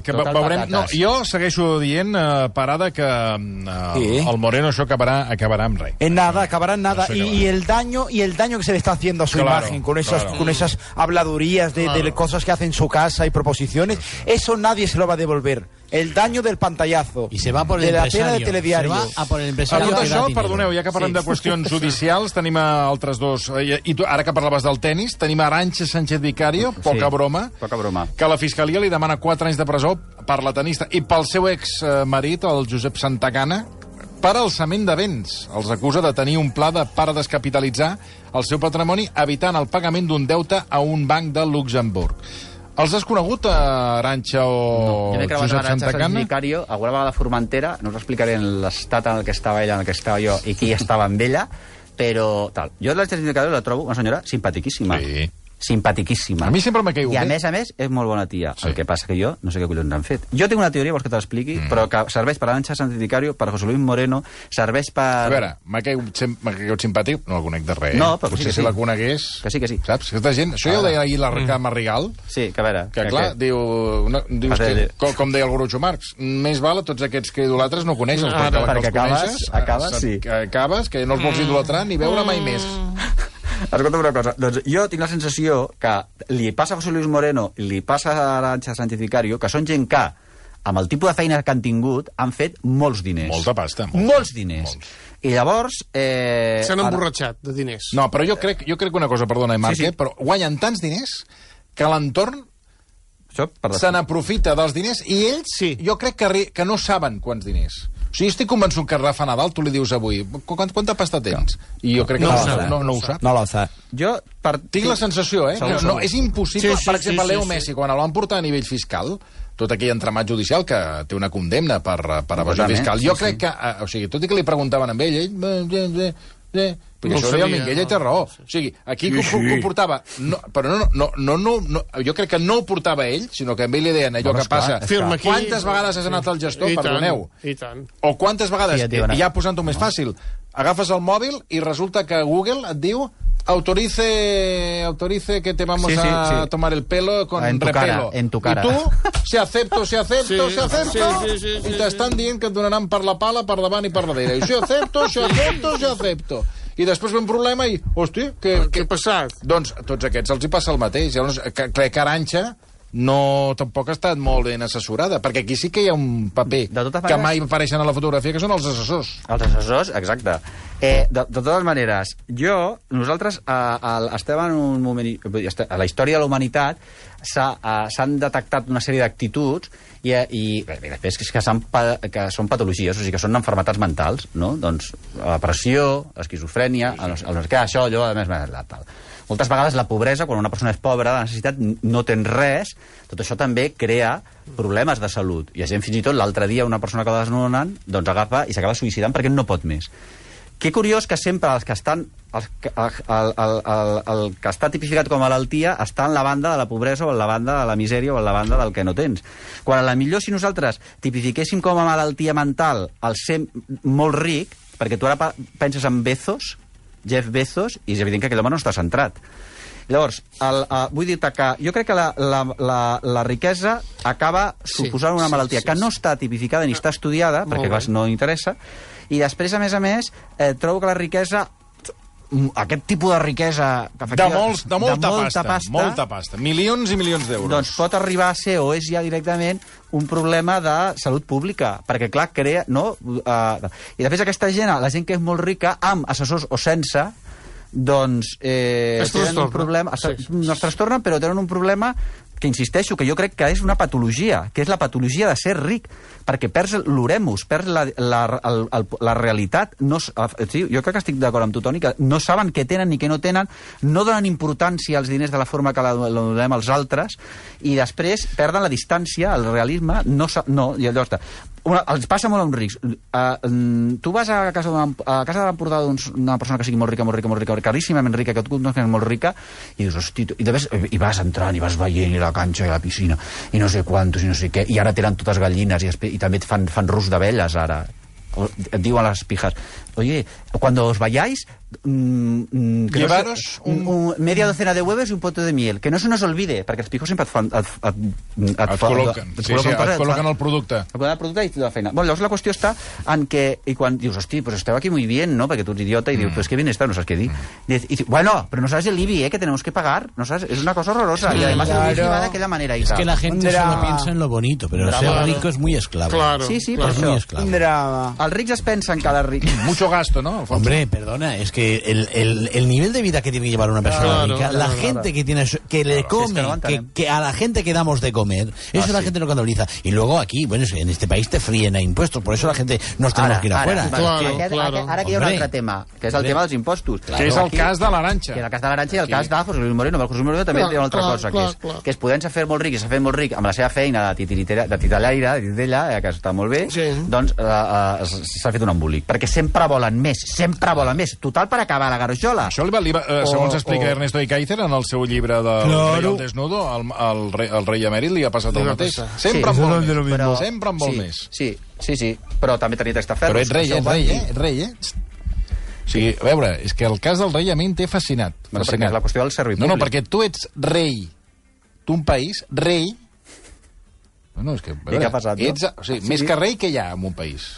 [SPEAKER 1] que
[SPEAKER 3] Total
[SPEAKER 1] Total veurem... No,
[SPEAKER 3] patates.
[SPEAKER 1] jo segueixo dient, eh, parada, que eh,
[SPEAKER 5] Sí.
[SPEAKER 1] el Moreno això acabarà, acabará en rei.
[SPEAKER 5] En nada, acabará en nada.
[SPEAKER 1] No sé
[SPEAKER 5] y,
[SPEAKER 1] qué va.
[SPEAKER 5] y el daño y el daño que se le está haciendo a su
[SPEAKER 1] Claro,
[SPEAKER 5] imagen con esas
[SPEAKER 1] claro.
[SPEAKER 5] con esas habladurías de, de cosas que hace en su casa y proposiciones, eso nadie se lo va a devolver. El daño del pantallazo.
[SPEAKER 4] Y se va por el
[SPEAKER 5] de la
[SPEAKER 4] empresario.
[SPEAKER 5] pena de telediario.
[SPEAKER 4] Se va a por el
[SPEAKER 1] A
[SPEAKER 4] empresario.
[SPEAKER 1] tot
[SPEAKER 4] que da
[SPEAKER 1] això,
[SPEAKER 4] dinero.
[SPEAKER 1] perdoneu, ja que parlem de qüestions judicials, tenim eh, altres dos... eh, I tu, ara que parlaves del tennis, tenim Arantxa Sánchez Vicario, poca broma,
[SPEAKER 3] Poca broma.
[SPEAKER 1] que la fiscalia li demana 4 anys de presó per la tenista i pel seu ex-marit, el Josep Santagana, per alçament de béns. Els acusa de tenir un pla de para descapitalitzar el seu patrimoni evitant el pagament d'un deute a un banc de Luxemburg. Els has conegut, eh, Arantxa o
[SPEAKER 3] Jo m'he creuat
[SPEAKER 1] Josep
[SPEAKER 3] amb Aranxa Sanz
[SPEAKER 1] Santagana?
[SPEAKER 3] Vicario, alguna vegada a Formentera, no us explicaré en l'estat en el que estava ella, en el que estava jo i qui estava amb ella, però tal. Jo l'Arantxa Sanz Vicario la trobo una senyora simpatiquíssima.
[SPEAKER 1] Sí.
[SPEAKER 3] Simpatiquíssima.
[SPEAKER 1] A mi sempre m'ha caigut
[SPEAKER 3] I a
[SPEAKER 1] bé.
[SPEAKER 3] més a més és molt bona tia.
[SPEAKER 1] Sí. Mm.
[SPEAKER 3] El que passa que jo no sé què collons han fet. Jo tinc una teoria, vols que te l'expliqui, però que serveix per Aranxa Sanz Vicario, per José Luis Moreno, serveix per...
[SPEAKER 1] A veure, m'ha caigut, sem- m'ha caigut simpàtic, no el conec de res. eh?
[SPEAKER 3] No, però
[SPEAKER 1] Potser
[SPEAKER 3] que sí que
[SPEAKER 1] si
[SPEAKER 3] sí.
[SPEAKER 1] la conegués...
[SPEAKER 3] Que sí, que sí.
[SPEAKER 1] Saps? Aquesta gent... Això ja ho deia ahir la Carme Rigal,
[SPEAKER 3] Sí, que a veure...
[SPEAKER 1] que, clar, diu, no, dius
[SPEAKER 3] Perquè-
[SPEAKER 1] que, com, com deia el Groucho Marx, més val a tots aquests que idolatres no coneixes,
[SPEAKER 3] Ah,
[SPEAKER 1] perquè,
[SPEAKER 3] perquè
[SPEAKER 1] que els
[SPEAKER 3] acabes-
[SPEAKER 1] coneixes,
[SPEAKER 3] acabes,
[SPEAKER 1] eh,
[SPEAKER 3] sí. Mm.
[SPEAKER 1] que acabes, que no els vols idolatrar ni veure mai més.
[SPEAKER 3] Escolta'm una cosa, doncs jo tinc la sensació que li passa a José Luis Moreno i li passa a Aranxa Sánchez Vicario, que són gent que, amb el tipus de feina que han tingut, han fet molts diners.
[SPEAKER 1] Molta pasta, molta.
[SPEAKER 3] Molts, diners.
[SPEAKER 1] Molts.
[SPEAKER 3] I llavors... Eh,
[SPEAKER 2] S'han
[SPEAKER 3] ara-
[SPEAKER 2] emborratxat de diners.
[SPEAKER 1] No, però jo crec, jo crec una cosa, perdona, Marc,
[SPEAKER 3] Sí, sí.
[SPEAKER 1] eh, però guanyen tants diners que l'entorn
[SPEAKER 3] Això, per
[SPEAKER 1] se n'aprofita dels diners i ells, sí.
[SPEAKER 2] Sí.
[SPEAKER 1] jo crec que, arri- que no saben quants diners. O sigui, estic convençut que Rafa Nadal tu li dius avui, "Qu- quant, quanta pasta tens? I jo crec que
[SPEAKER 2] No
[SPEAKER 1] no,
[SPEAKER 2] ho
[SPEAKER 1] no,
[SPEAKER 2] saben.
[SPEAKER 1] no, no ho sap.
[SPEAKER 5] No lo sabe.
[SPEAKER 3] Jo, per...
[SPEAKER 1] Tinc la sensació, eh?
[SPEAKER 3] Segur,
[SPEAKER 1] No, no,
[SPEAKER 3] segur.
[SPEAKER 1] és impossible.
[SPEAKER 2] Sí, sí,
[SPEAKER 1] per
[SPEAKER 2] sí,
[SPEAKER 1] exemple,
[SPEAKER 2] sí,
[SPEAKER 1] Leo
[SPEAKER 2] sí.
[SPEAKER 1] Messi, quan el van portar a nivell fiscal, tot aquell entramat judicial que té una condemna per, per evasió
[SPEAKER 3] Important, eh?
[SPEAKER 1] fiscal. Jo
[SPEAKER 3] Sí,
[SPEAKER 1] crec que, eh, o sigui, tot i que li preguntaven a ell, ell... eh, eh, eh, eh, Perquè
[SPEAKER 2] No
[SPEAKER 1] no
[SPEAKER 2] ho
[SPEAKER 1] això ho deia el
[SPEAKER 2] sabia,
[SPEAKER 1] Minguella
[SPEAKER 2] no.
[SPEAKER 1] i té raó. O sigui, aquí sí, sí. ho portava... No, però no, no, no, no, no, jo crec que no ho portava ell, sinó que a ell li deien allò que passa.
[SPEAKER 2] Firma aquí.
[SPEAKER 1] Quantes vegades has anat al gestor,
[SPEAKER 2] I tant,
[SPEAKER 1] perdoneu?
[SPEAKER 2] I tant.
[SPEAKER 1] O quantes vegades,
[SPEAKER 3] Sí,
[SPEAKER 1] ja,
[SPEAKER 3] et diuen, eh?
[SPEAKER 1] ja posant-ho més fàcil, agafes el mòbil i resulta que Google et diu autorice, autorice que te vamos
[SPEAKER 3] Sí, sí,
[SPEAKER 1] a
[SPEAKER 3] sí.
[SPEAKER 1] tomar el pelo con
[SPEAKER 3] En tu
[SPEAKER 1] repelo.
[SPEAKER 3] cara, en tu cara.
[SPEAKER 1] I tu, si acepto, si acepto,
[SPEAKER 2] Sí,
[SPEAKER 1] si acepto,
[SPEAKER 2] sí, sí, sí, sí,
[SPEAKER 1] i t'estan dient que et donaran per la pala, per davant i per darrere. I si acepto, si acepto, si acepto. I després ve un problema i, hosti, que,
[SPEAKER 2] Què
[SPEAKER 1] que,
[SPEAKER 2] ha passat?
[SPEAKER 1] doncs a tots aquests els hi passa el mateix. Llavors, que- crec que Aranxa no, tampoc ha estat molt ben assessorada, perquè aquí sí que hi ha un paper
[SPEAKER 3] De totes
[SPEAKER 1] que
[SPEAKER 3] maneres-
[SPEAKER 1] mai apareixen a la fotografia, que són els assessors.
[SPEAKER 3] Els assessors, exacte. Eh, de, de totes maneres, jo, nosaltres eh, el, estem en un moment... i- vull dir, este- A la història de la humanitat s'ha, eh, s'han detectat una sèrie d'actituds i, eh, i bé, bé, després que, és que, s'han pa, que són patologies, o sigui, que són enfermetats mentals, no? Doncs la depressió, l'esquizofrènia, el, el, el, que això, allò, a més, a més, la tal. Moltes vegades la pobresa, quan una persona és pobra, la necessitat, no tens res, tot això també crea problemes de salut. I la gent, fins i tot, l'altre dia una persona que la desnonen, doncs agafa i s'acaba suïcidant perquè no pot més. Que curiós que sempre els que estan... Els, que- el, el, el, el, el que està tipificat com a malaltia està en la banda de la pobresa o en la banda de la misèria o en la banda del que no tens. Quan a la millor si nosaltres tipifiquéssim com a malaltia mental el ser molt ric, perquè tu ara pa- penses en Bezos, Jeff Bezos, i és evident que aquell home no està centrat. Llavors, el, uh, vull dir-te que jo crec que la, la, la, la riquesa acaba suposant una
[SPEAKER 2] sí,
[SPEAKER 3] malaltia
[SPEAKER 2] sí,
[SPEAKER 3] que
[SPEAKER 2] sí.
[SPEAKER 3] no està tipificada ni està estudiada,
[SPEAKER 2] bé.
[SPEAKER 3] perquè clar, no interessa, i després, a més a més, eh, trobo que la riquesa mm, aquest tipus de riquesa
[SPEAKER 1] De,
[SPEAKER 3] que efectiva-
[SPEAKER 1] molts, de, molta,
[SPEAKER 3] de
[SPEAKER 1] pasta, Molta pasta. Milions i milions d'euros.
[SPEAKER 3] doncs pot arribar a ser o és ja directament un problema de salut pública, perquè clar, crea... No? Uh, I després aquesta gent, la gent que és molt rica, amb assessors o sense, doncs eh,
[SPEAKER 2] Es
[SPEAKER 3] tenen
[SPEAKER 2] trastorna.
[SPEAKER 3] un problema... Es,
[SPEAKER 2] Sí.
[SPEAKER 3] No es trastornen, però tenen un problema que insisteixo, que jo crec que és una patologia, que és la patologia de ser ric, perquè perds l'oremus, perds la, la, el, el, la realitat. No, s- eh, sí, jo crec que estic d'acord amb tu, Toni, que no saben què tenen ni què no tenen, no donen importància als diners de la forma que la, la donem als altres, i després perden la distància, el realisme, no, sa- no i allò està. Una, els passa molt a uns rics. Uh, mm, tu vas a casa d'un- a casa de l'Empordà d'una persona que sigui molt rica, molt rica, molt rica, caríssimament rica, que tu no és molt rica, i dius, hosti, tu- i, de ves, i vas entrant, i vas veient, i la canxa, i la piscina, i no sé quantos, i no sé què, i ara tenen totes gallines, i, després, i també et fan, fan rus d'abelles, ara. O, et diuen les pijas, oye, cuando os vayáis, mm, mm, que no se-
[SPEAKER 1] Llevaros un-
[SPEAKER 3] un- media docena de huevos y un pote de miel, que no se nos olvide, perquè els pijos sempre et fan... Et, et,
[SPEAKER 1] et
[SPEAKER 3] et, fa-
[SPEAKER 1] col·loquen, sí, sí,
[SPEAKER 3] coses,
[SPEAKER 1] et
[SPEAKER 3] fan-
[SPEAKER 1] col·loquen el producte.
[SPEAKER 3] el poder del producte i de la feina. Bueno, llavors la qüestió està en que... I quan dius, hosti, pues esteu aquí muy bien, ¿no? Perquè tu ets idiota i dius, pues que bien está, no saps què dir. I, dius- i, dius, bueno, pero no sabes el IBI, eh, que tenemos que pagar. No sabes, es una cosa horrorosa. y además
[SPEAKER 4] claro.
[SPEAKER 3] el IBI va de aquella manera. Y
[SPEAKER 4] Es
[SPEAKER 3] tal.
[SPEAKER 4] que la gente
[SPEAKER 5] Drama.
[SPEAKER 4] solo piensa en lo bonito, pero ser rico es muy esclavo.
[SPEAKER 2] Claro.
[SPEAKER 3] Sí, sí,
[SPEAKER 2] claro.
[SPEAKER 4] Es muy esclavo.
[SPEAKER 5] Un drama.
[SPEAKER 3] Els rics es pensen que la ric...
[SPEAKER 1] Mucho gasto, no? Alfonso?
[SPEAKER 4] Hombre, perdona, es que el, el- el nivel de vida que tiene que llevar una persona
[SPEAKER 2] Claro,
[SPEAKER 4] rica, la
[SPEAKER 2] claro,
[SPEAKER 4] gente que tiene su- que le
[SPEAKER 3] Sí,
[SPEAKER 4] come,
[SPEAKER 3] es que no aguantan,
[SPEAKER 4] que,
[SPEAKER 3] ¿eh? Ah,
[SPEAKER 4] que a la gente que damos de comer, eso la gente no contabiliza. Y luego aquí, bueno, es que en este país te fríen a impuestos, por eso la gente nos tenemos que ir afuera.
[SPEAKER 3] vale,
[SPEAKER 2] Claro,
[SPEAKER 3] que aquest,
[SPEAKER 2] claro.
[SPEAKER 3] aquest- Ara que hi ha un
[SPEAKER 4] Hombre.
[SPEAKER 3] altre tema, que és el
[SPEAKER 4] Hombre.
[SPEAKER 3] tema dels impostos.
[SPEAKER 1] Que és el
[SPEAKER 3] Aquí-
[SPEAKER 1] cas de
[SPEAKER 3] que era
[SPEAKER 1] l'Aranxa.
[SPEAKER 3] el cas de Garanxa i el cas de José Luis Moreno. Però José Luis Moreno també
[SPEAKER 2] Clar,
[SPEAKER 3] té una altra
[SPEAKER 2] clar, clar,
[SPEAKER 3] cosa, que
[SPEAKER 2] clar.
[SPEAKER 3] és, que es podent fer molt ric i s'ha fet molt ric amb la seva feina de titiritera, de titalaire, de titella, eh, que està molt bé,
[SPEAKER 2] Sí.
[SPEAKER 3] doncs eh, eh, s- s'ha fet un embolic. Perquè sempre volen més, sempre volen més. Total per acabar la garjola.
[SPEAKER 1] Això li va, li va, eh, segons
[SPEAKER 3] O-
[SPEAKER 1] explica
[SPEAKER 3] o-
[SPEAKER 1] Ernesto Icaizer en el seu llibre del
[SPEAKER 4] Claro.
[SPEAKER 1] rei al desnudo, el, el, rei, el rei emèrit li ha passat
[SPEAKER 2] Li
[SPEAKER 1] el
[SPEAKER 2] va
[SPEAKER 1] mateix.
[SPEAKER 2] passar.
[SPEAKER 1] Sempre
[SPEAKER 3] Sí,
[SPEAKER 1] en vol més.
[SPEAKER 3] Però-
[SPEAKER 1] Sempre en vol
[SPEAKER 3] sí,
[SPEAKER 1] més.
[SPEAKER 3] Sí, sí, sí, però també tenia testaferros.
[SPEAKER 1] Però ets rei,
[SPEAKER 3] això ho
[SPEAKER 1] ets
[SPEAKER 3] van
[SPEAKER 1] rei,
[SPEAKER 3] dir.
[SPEAKER 1] eh? Ets rei, eh? Txt. O sigui, a veure, és que el cas del rei a mi em té fascinat.
[SPEAKER 3] Bueno,
[SPEAKER 1] fascinat.
[SPEAKER 3] perquè és la qüestió del servei
[SPEAKER 1] No, no,
[SPEAKER 3] públic.
[SPEAKER 1] perquè tu ets rei d'un país, rei... Bueno, és que, a
[SPEAKER 3] què ha passat, no?
[SPEAKER 1] ets, o sigui,
[SPEAKER 3] Sí,
[SPEAKER 1] més
[SPEAKER 3] sí.
[SPEAKER 1] que rei que hi ha en un país.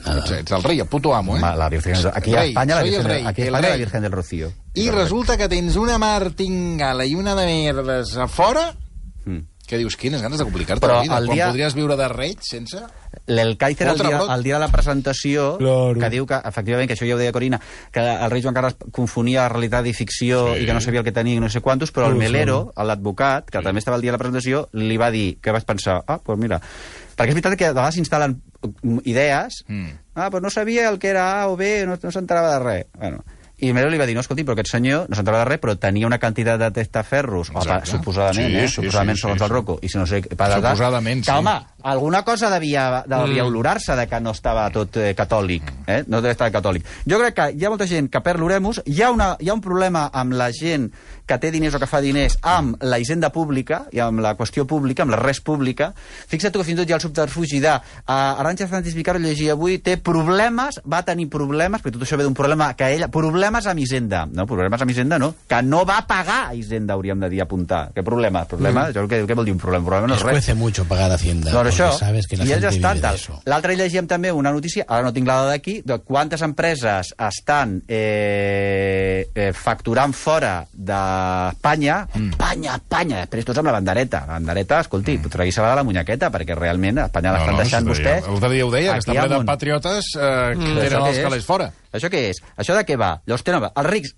[SPEAKER 1] Ets, ets el rei, el puto amo, eh?
[SPEAKER 3] Ma- La Virgen, aquí a
[SPEAKER 1] Rei,
[SPEAKER 3] Espanya, la
[SPEAKER 1] soy el
[SPEAKER 3] Virgen,
[SPEAKER 1] rei,
[SPEAKER 3] aquí a
[SPEAKER 1] el
[SPEAKER 3] Espanya, la
[SPEAKER 1] rei.
[SPEAKER 3] Virgen del Rocío.
[SPEAKER 1] I resulta que tens una martingala i una de merdes a fora
[SPEAKER 3] Mm.
[SPEAKER 1] que dius, quines ganes de complicar-te
[SPEAKER 3] Però
[SPEAKER 1] la vida,
[SPEAKER 3] el
[SPEAKER 1] quan
[SPEAKER 3] dia-
[SPEAKER 1] podries viure de reig sense...
[SPEAKER 3] L'Elcaizer el,
[SPEAKER 1] Otra
[SPEAKER 3] dia,
[SPEAKER 1] brot.
[SPEAKER 3] el dia de la presentació,
[SPEAKER 4] Claro.
[SPEAKER 3] que diu que, efectivament, que això ja ho deia Corina, que el rei Joan Carles confonia realitat i ficció sí. i que no sabia el que tenia i no sé quantos, però el Melero, l'advocat, que també estava el dia de la presentació, li va dir que vas pensar, ah, doncs pues mira... Perquè és veritat que de vegades s'instal·len mm, idees,
[SPEAKER 1] Mm.
[SPEAKER 3] ah, doncs pues no sabia el que era A o B, no, no s'entrava de res. Bueno, i el Melero li va dir, no, escolti, però aquest senyor no s'entrava de res, però tenia una quantitat de testaferros, o, pa-
[SPEAKER 1] Exacte.
[SPEAKER 3] suposadament,
[SPEAKER 1] Sí,
[SPEAKER 3] eh?
[SPEAKER 1] sí,
[SPEAKER 3] suposadament,
[SPEAKER 1] sí,
[SPEAKER 3] segons
[SPEAKER 1] sí,
[SPEAKER 3] el
[SPEAKER 1] sí.
[SPEAKER 3] Rocco, i si no sé... Pa,
[SPEAKER 1] Suposadament,
[SPEAKER 3] que,
[SPEAKER 1] sí.
[SPEAKER 3] home, alguna cosa devia, devia olorar-se de que no estava tot eh, catòlic, eh? no devia estar catòlic. Jo crec que hi ha molta gent que perd l'oremus, hi, ha una, hi ha un problema amb la gent que té diners o que fa diners amb la hisenda pública i amb la qüestió pública, amb la res pública. Fixa't tu que fins i tot hi ha el subterfugi de uh, Arantxa Fernández Vicario llegia avui, té problemes, va tenir problemes, perquè tot això ve d'un problema que ella... Problemes amb Hisenda. No, problemes amb Hisenda no. Que no va pagar a Hisenda, hauríem de dir, apuntar. Què problema? Problema? Mm. Jo, què, què vol dir un problema? Un problema no
[SPEAKER 4] Les
[SPEAKER 3] és res.
[SPEAKER 4] cuece mucho pagar Hacienda.
[SPEAKER 3] Doncs
[SPEAKER 4] porque
[SPEAKER 3] això,
[SPEAKER 4] sabes que la
[SPEAKER 3] i ells
[SPEAKER 4] gente vive
[SPEAKER 3] estan
[SPEAKER 4] de
[SPEAKER 3] tal.
[SPEAKER 4] eso.
[SPEAKER 3] L'altre dia llegíem també una notícia, ara no tinc la dada aquí, de quantes empreses estan eh, eh, facturant fora d'Espanya, mm. Espanya, Espanya, després tots amb la bandereta. La bandereta, escolti, mm. tragui-se-la de la munyaqueta, perquè realment a Espanya l'estan deixant
[SPEAKER 1] sí,
[SPEAKER 3] vostès...
[SPEAKER 1] L'altre dia ho deia, que
[SPEAKER 3] aquí
[SPEAKER 1] està ple de
[SPEAKER 3] amunt.
[SPEAKER 1] patriotes eh, que
[SPEAKER 3] Mm-hmm. Però
[SPEAKER 1] tenen
[SPEAKER 3] això
[SPEAKER 1] els
[SPEAKER 3] què
[SPEAKER 1] calés
[SPEAKER 3] és?
[SPEAKER 1] fora.
[SPEAKER 3] Això què és? Això de què va? Llavors tenen... Els rics...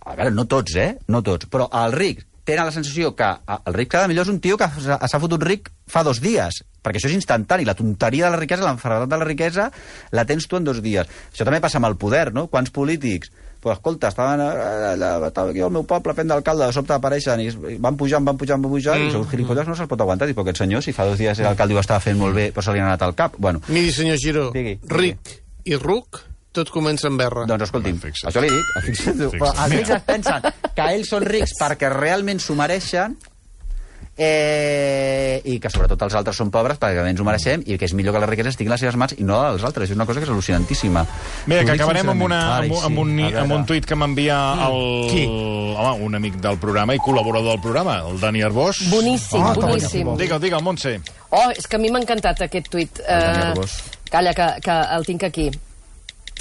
[SPEAKER 3] A veure, no tots, eh? No tots. Però els rics tenen la sensació que a- el ric cada millor és un tio que s'ha- s'ha fotut ric fa dos dies, perquè això és instantani. La tonteria de la riquesa, l'enfermedat de la riquesa, la tens tu en dos dies. Això també passa amb el poder, no? Quants polítics però escolta, estaven eh, allà, estava aquí al meu poble fent d'alcalde, de sobte apareixen i es- i van pujant, van pujant, van pujant, mm. i els gilipolles no se'ls pot aguantar. Dic, però aquest senyor, si fa dos dies era alcalde i ho estava fent molt bé, però se li ha anat al cap. Bueno,
[SPEAKER 2] Miri, senyor Giró,
[SPEAKER 3] Digui, digui.
[SPEAKER 2] ric i ruc, tot comença amb R.
[SPEAKER 3] Doncs escolti'm,
[SPEAKER 1] Home, Ah, fixa't.
[SPEAKER 3] això li dic. Fixa't. Però els rics es pensen que ells són rics perquè realment s'ho mereixen eh, i que sobretot els altres són pobres perquè realment ens ho mereixem i que és millor que les riqueses estiguin a les seves mans i no a les altres. És una cosa que és al·lucinantíssima.
[SPEAKER 1] Mira,
[SPEAKER 3] T'ho
[SPEAKER 1] que
[SPEAKER 3] dic
[SPEAKER 1] acabarem amb, una, amb,
[SPEAKER 3] sincerament. Ai,
[SPEAKER 1] un- amb, un,
[SPEAKER 3] sí, a
[SPEAKER 1] amb un
[SPEAKER 3] veure.
[SPEAKER 1] tuit que m'envia el... Home, un amic del programa i col·laborador del programa, el Dani Arbós.
[SPEAKER 6] Boníssim,
[SPEAKER 1] Ah,
[SPEAKER 6] boníssim.
[SPEAKER 1] Digue'l, digue'l, Montse.
[SPEAKER 6] Oh, és que a mi m'ha encantat aquest tuit.
[SPEAKER 3] Dani
[SPEAKER 6] Eh,
[SPEAKER 3] Arbós.
[SPEAKER 6] calla, que, que el tinc aquí.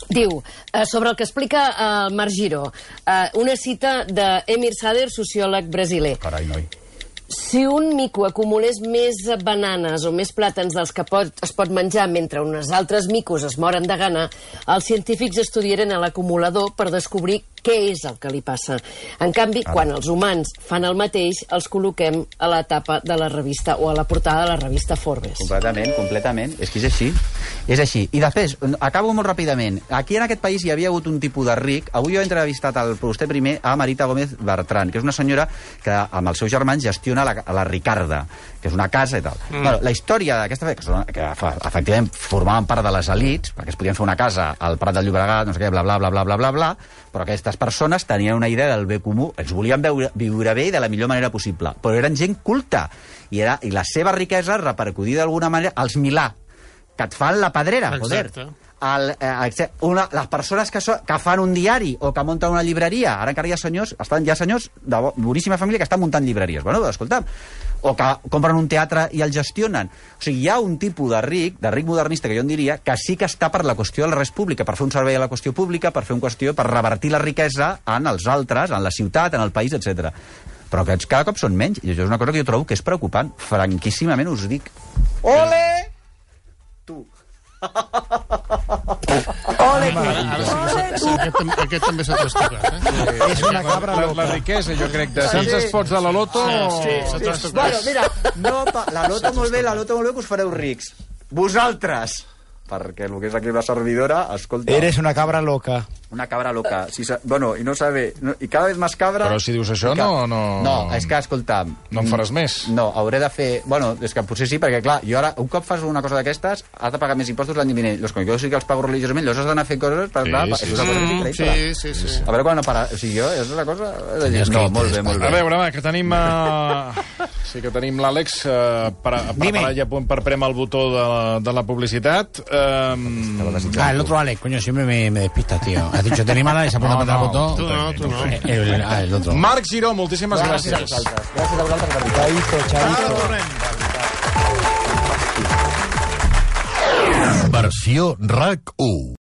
[SPEAKER 6] Diu, eh, sobre el que explica el Marc Giró, eh, una cita d'Emir Sader, sociòleg brasiler.
[SPEAKER 3] Carai, noi.
[SPEAKER 6] Si un mico acumulés més bananes o més plàtans dels que pot, es pot menjar mentre unes altres micos es moren de gana, els científics estudiaren a l'acumulador per descobrir què és el que li passa. En canvi, quan els humans fan el mateix, els col·loquem a la tapa de la revista o a la portada de la revista Forbes.
[SPEAKER 3] Completament, completament. És que és així. És així. I després, acabo molt ràpidament. Aquí en aquest país hi havia hagut un tipus de ric. Avui jo he entrevistat el vostè primer a Marita Gómez Bertran, que és una senyora que amb els seus germans gestiona la, la Ricarda, que és una casa i tal. Mm. Bueno, la història d'aquesta fe- que, són, que fa- efectivament formaven part de les elites, perquè es podien fer una casa al Prat del Llobregat, no sé què, bla, bla, bla, bla, bla, bla, bla, però aquestes persones tenien una idea del bé comú, ens volien veure, viure bé i de la millor manera possible, però eren gent culta, i, era, i la seva riquesa repercutia d'alguna manera als Milà, que et fan la pedrera,
[SPEAKER 2] Exacte.
[SPEAKER 3] joder. El, eh, exce- una, les persones que, so, que fan un diari o que munten una llibreria, ara encara hi ha senyors, estan, hi ha senyors de bo- boníssima família que estan muntant llibreries, bueno, doncs, escolta'm, o que compren un teatre i el gestionen. O sigui, hi ha un tipus de ric, de ric modernista, que jo en diria, que sí que està per la qüestió de la res pública, per fer un servei a la qüestió pública, per fer un qüestió, per revertir la riquesa en els altres, en la ciutat, en el país, etc. Però aquests cada cop són menys, i això és una cosa que jo trobo que és preocupant. Franquíssimament us dic. Ole!
[SPEAKER 2] Ara, ara sí, que s'ha- aquest, tam- aquest també s'ha trastocat, eh?
[SPEAKER 5] Es una cabra
[SPEAKER 1] La,
[SPEAKER 5] loca.
[SPEAKER 1] la riquesa, jo crec, de Sants Esports de la Loto...
[SPEAKER 2] Sí, s'ha trastocat.
[SPEAKER 3] Bueno, mira, no, pa- la loto molt bé, la loto molt bé, que us fareu rics. Vosaltres! Perquè el que és aquí una servidora, escolta...
[SPEAKER 5] Eres una cabra loca.
[SPEAKER 3] Una cabra loca. Si sa... Bueno, i no sabe... No, I cada vez més cabra...
[SPEAKER 1] Però si dius això,
[SPEAKER 3] I ca-
[SPEAKER 1] no- no-
[SPEAKER 3] No, és que, escolta... mm,
[SPEAKER 1] No en faràs més.
[SPEAKER 3] No, hauré de fer... Bueno, és que potser sí, perquè, clar, jo ara, un cop fas una cosa d'aquestes, has de pagar més impostos l'any vinent. Los, com jo sí que els pago religiosament, llavors has d'anar fent coses per...
[SPEAKER 1] Sí,
[SPEAKER 3] anar-
[SPEAKER 1] sí,
[SPEAKER 3] és una cosa
[SPEAKER 2] Mm,
[SPEAKER 3] increïble.
[SPEAKER 2] sí, sí, sí.
[SPEAKER 3] A veure quan no para... O sigui, jo, és una cosa...
[SPEAKER 4] Tenies
[SPEAKER 3] No,
[SPEAKER 4] que-
[SPEAKER 3] molt bé, molt
[SPEAKER 1] A
[SPEAKER 3] bé.
[SPEAKER 1] veure, va, que tenim... Uh... Sí que tenim l'Àlex uh, per, preparat i a punt per premar el botó de, de la publicitat. Um...
[SPEAKER 4] Ah, el otro Alex, coño, siempre me, me despista, tío. Has dicho, tenéis mala pues y se apunta
[SPEAKER 1] No,
[SPEAKER 4] para
[SPEAKER 1] no,
[SPEAKER 4] el botón.
[SPEAKER 2] Tú no, tú no.
[SPEAKER 4] Eh, El, ah, el otro.
[SPEAKER 1] Marc Giró, moltíssimes gràcies. gràcies.
[SPEAKER 3] Gràcies a vosaltres per
[SPEAKER 1] Ara tornem.
[SPEAKER 9] Versió RAC 1.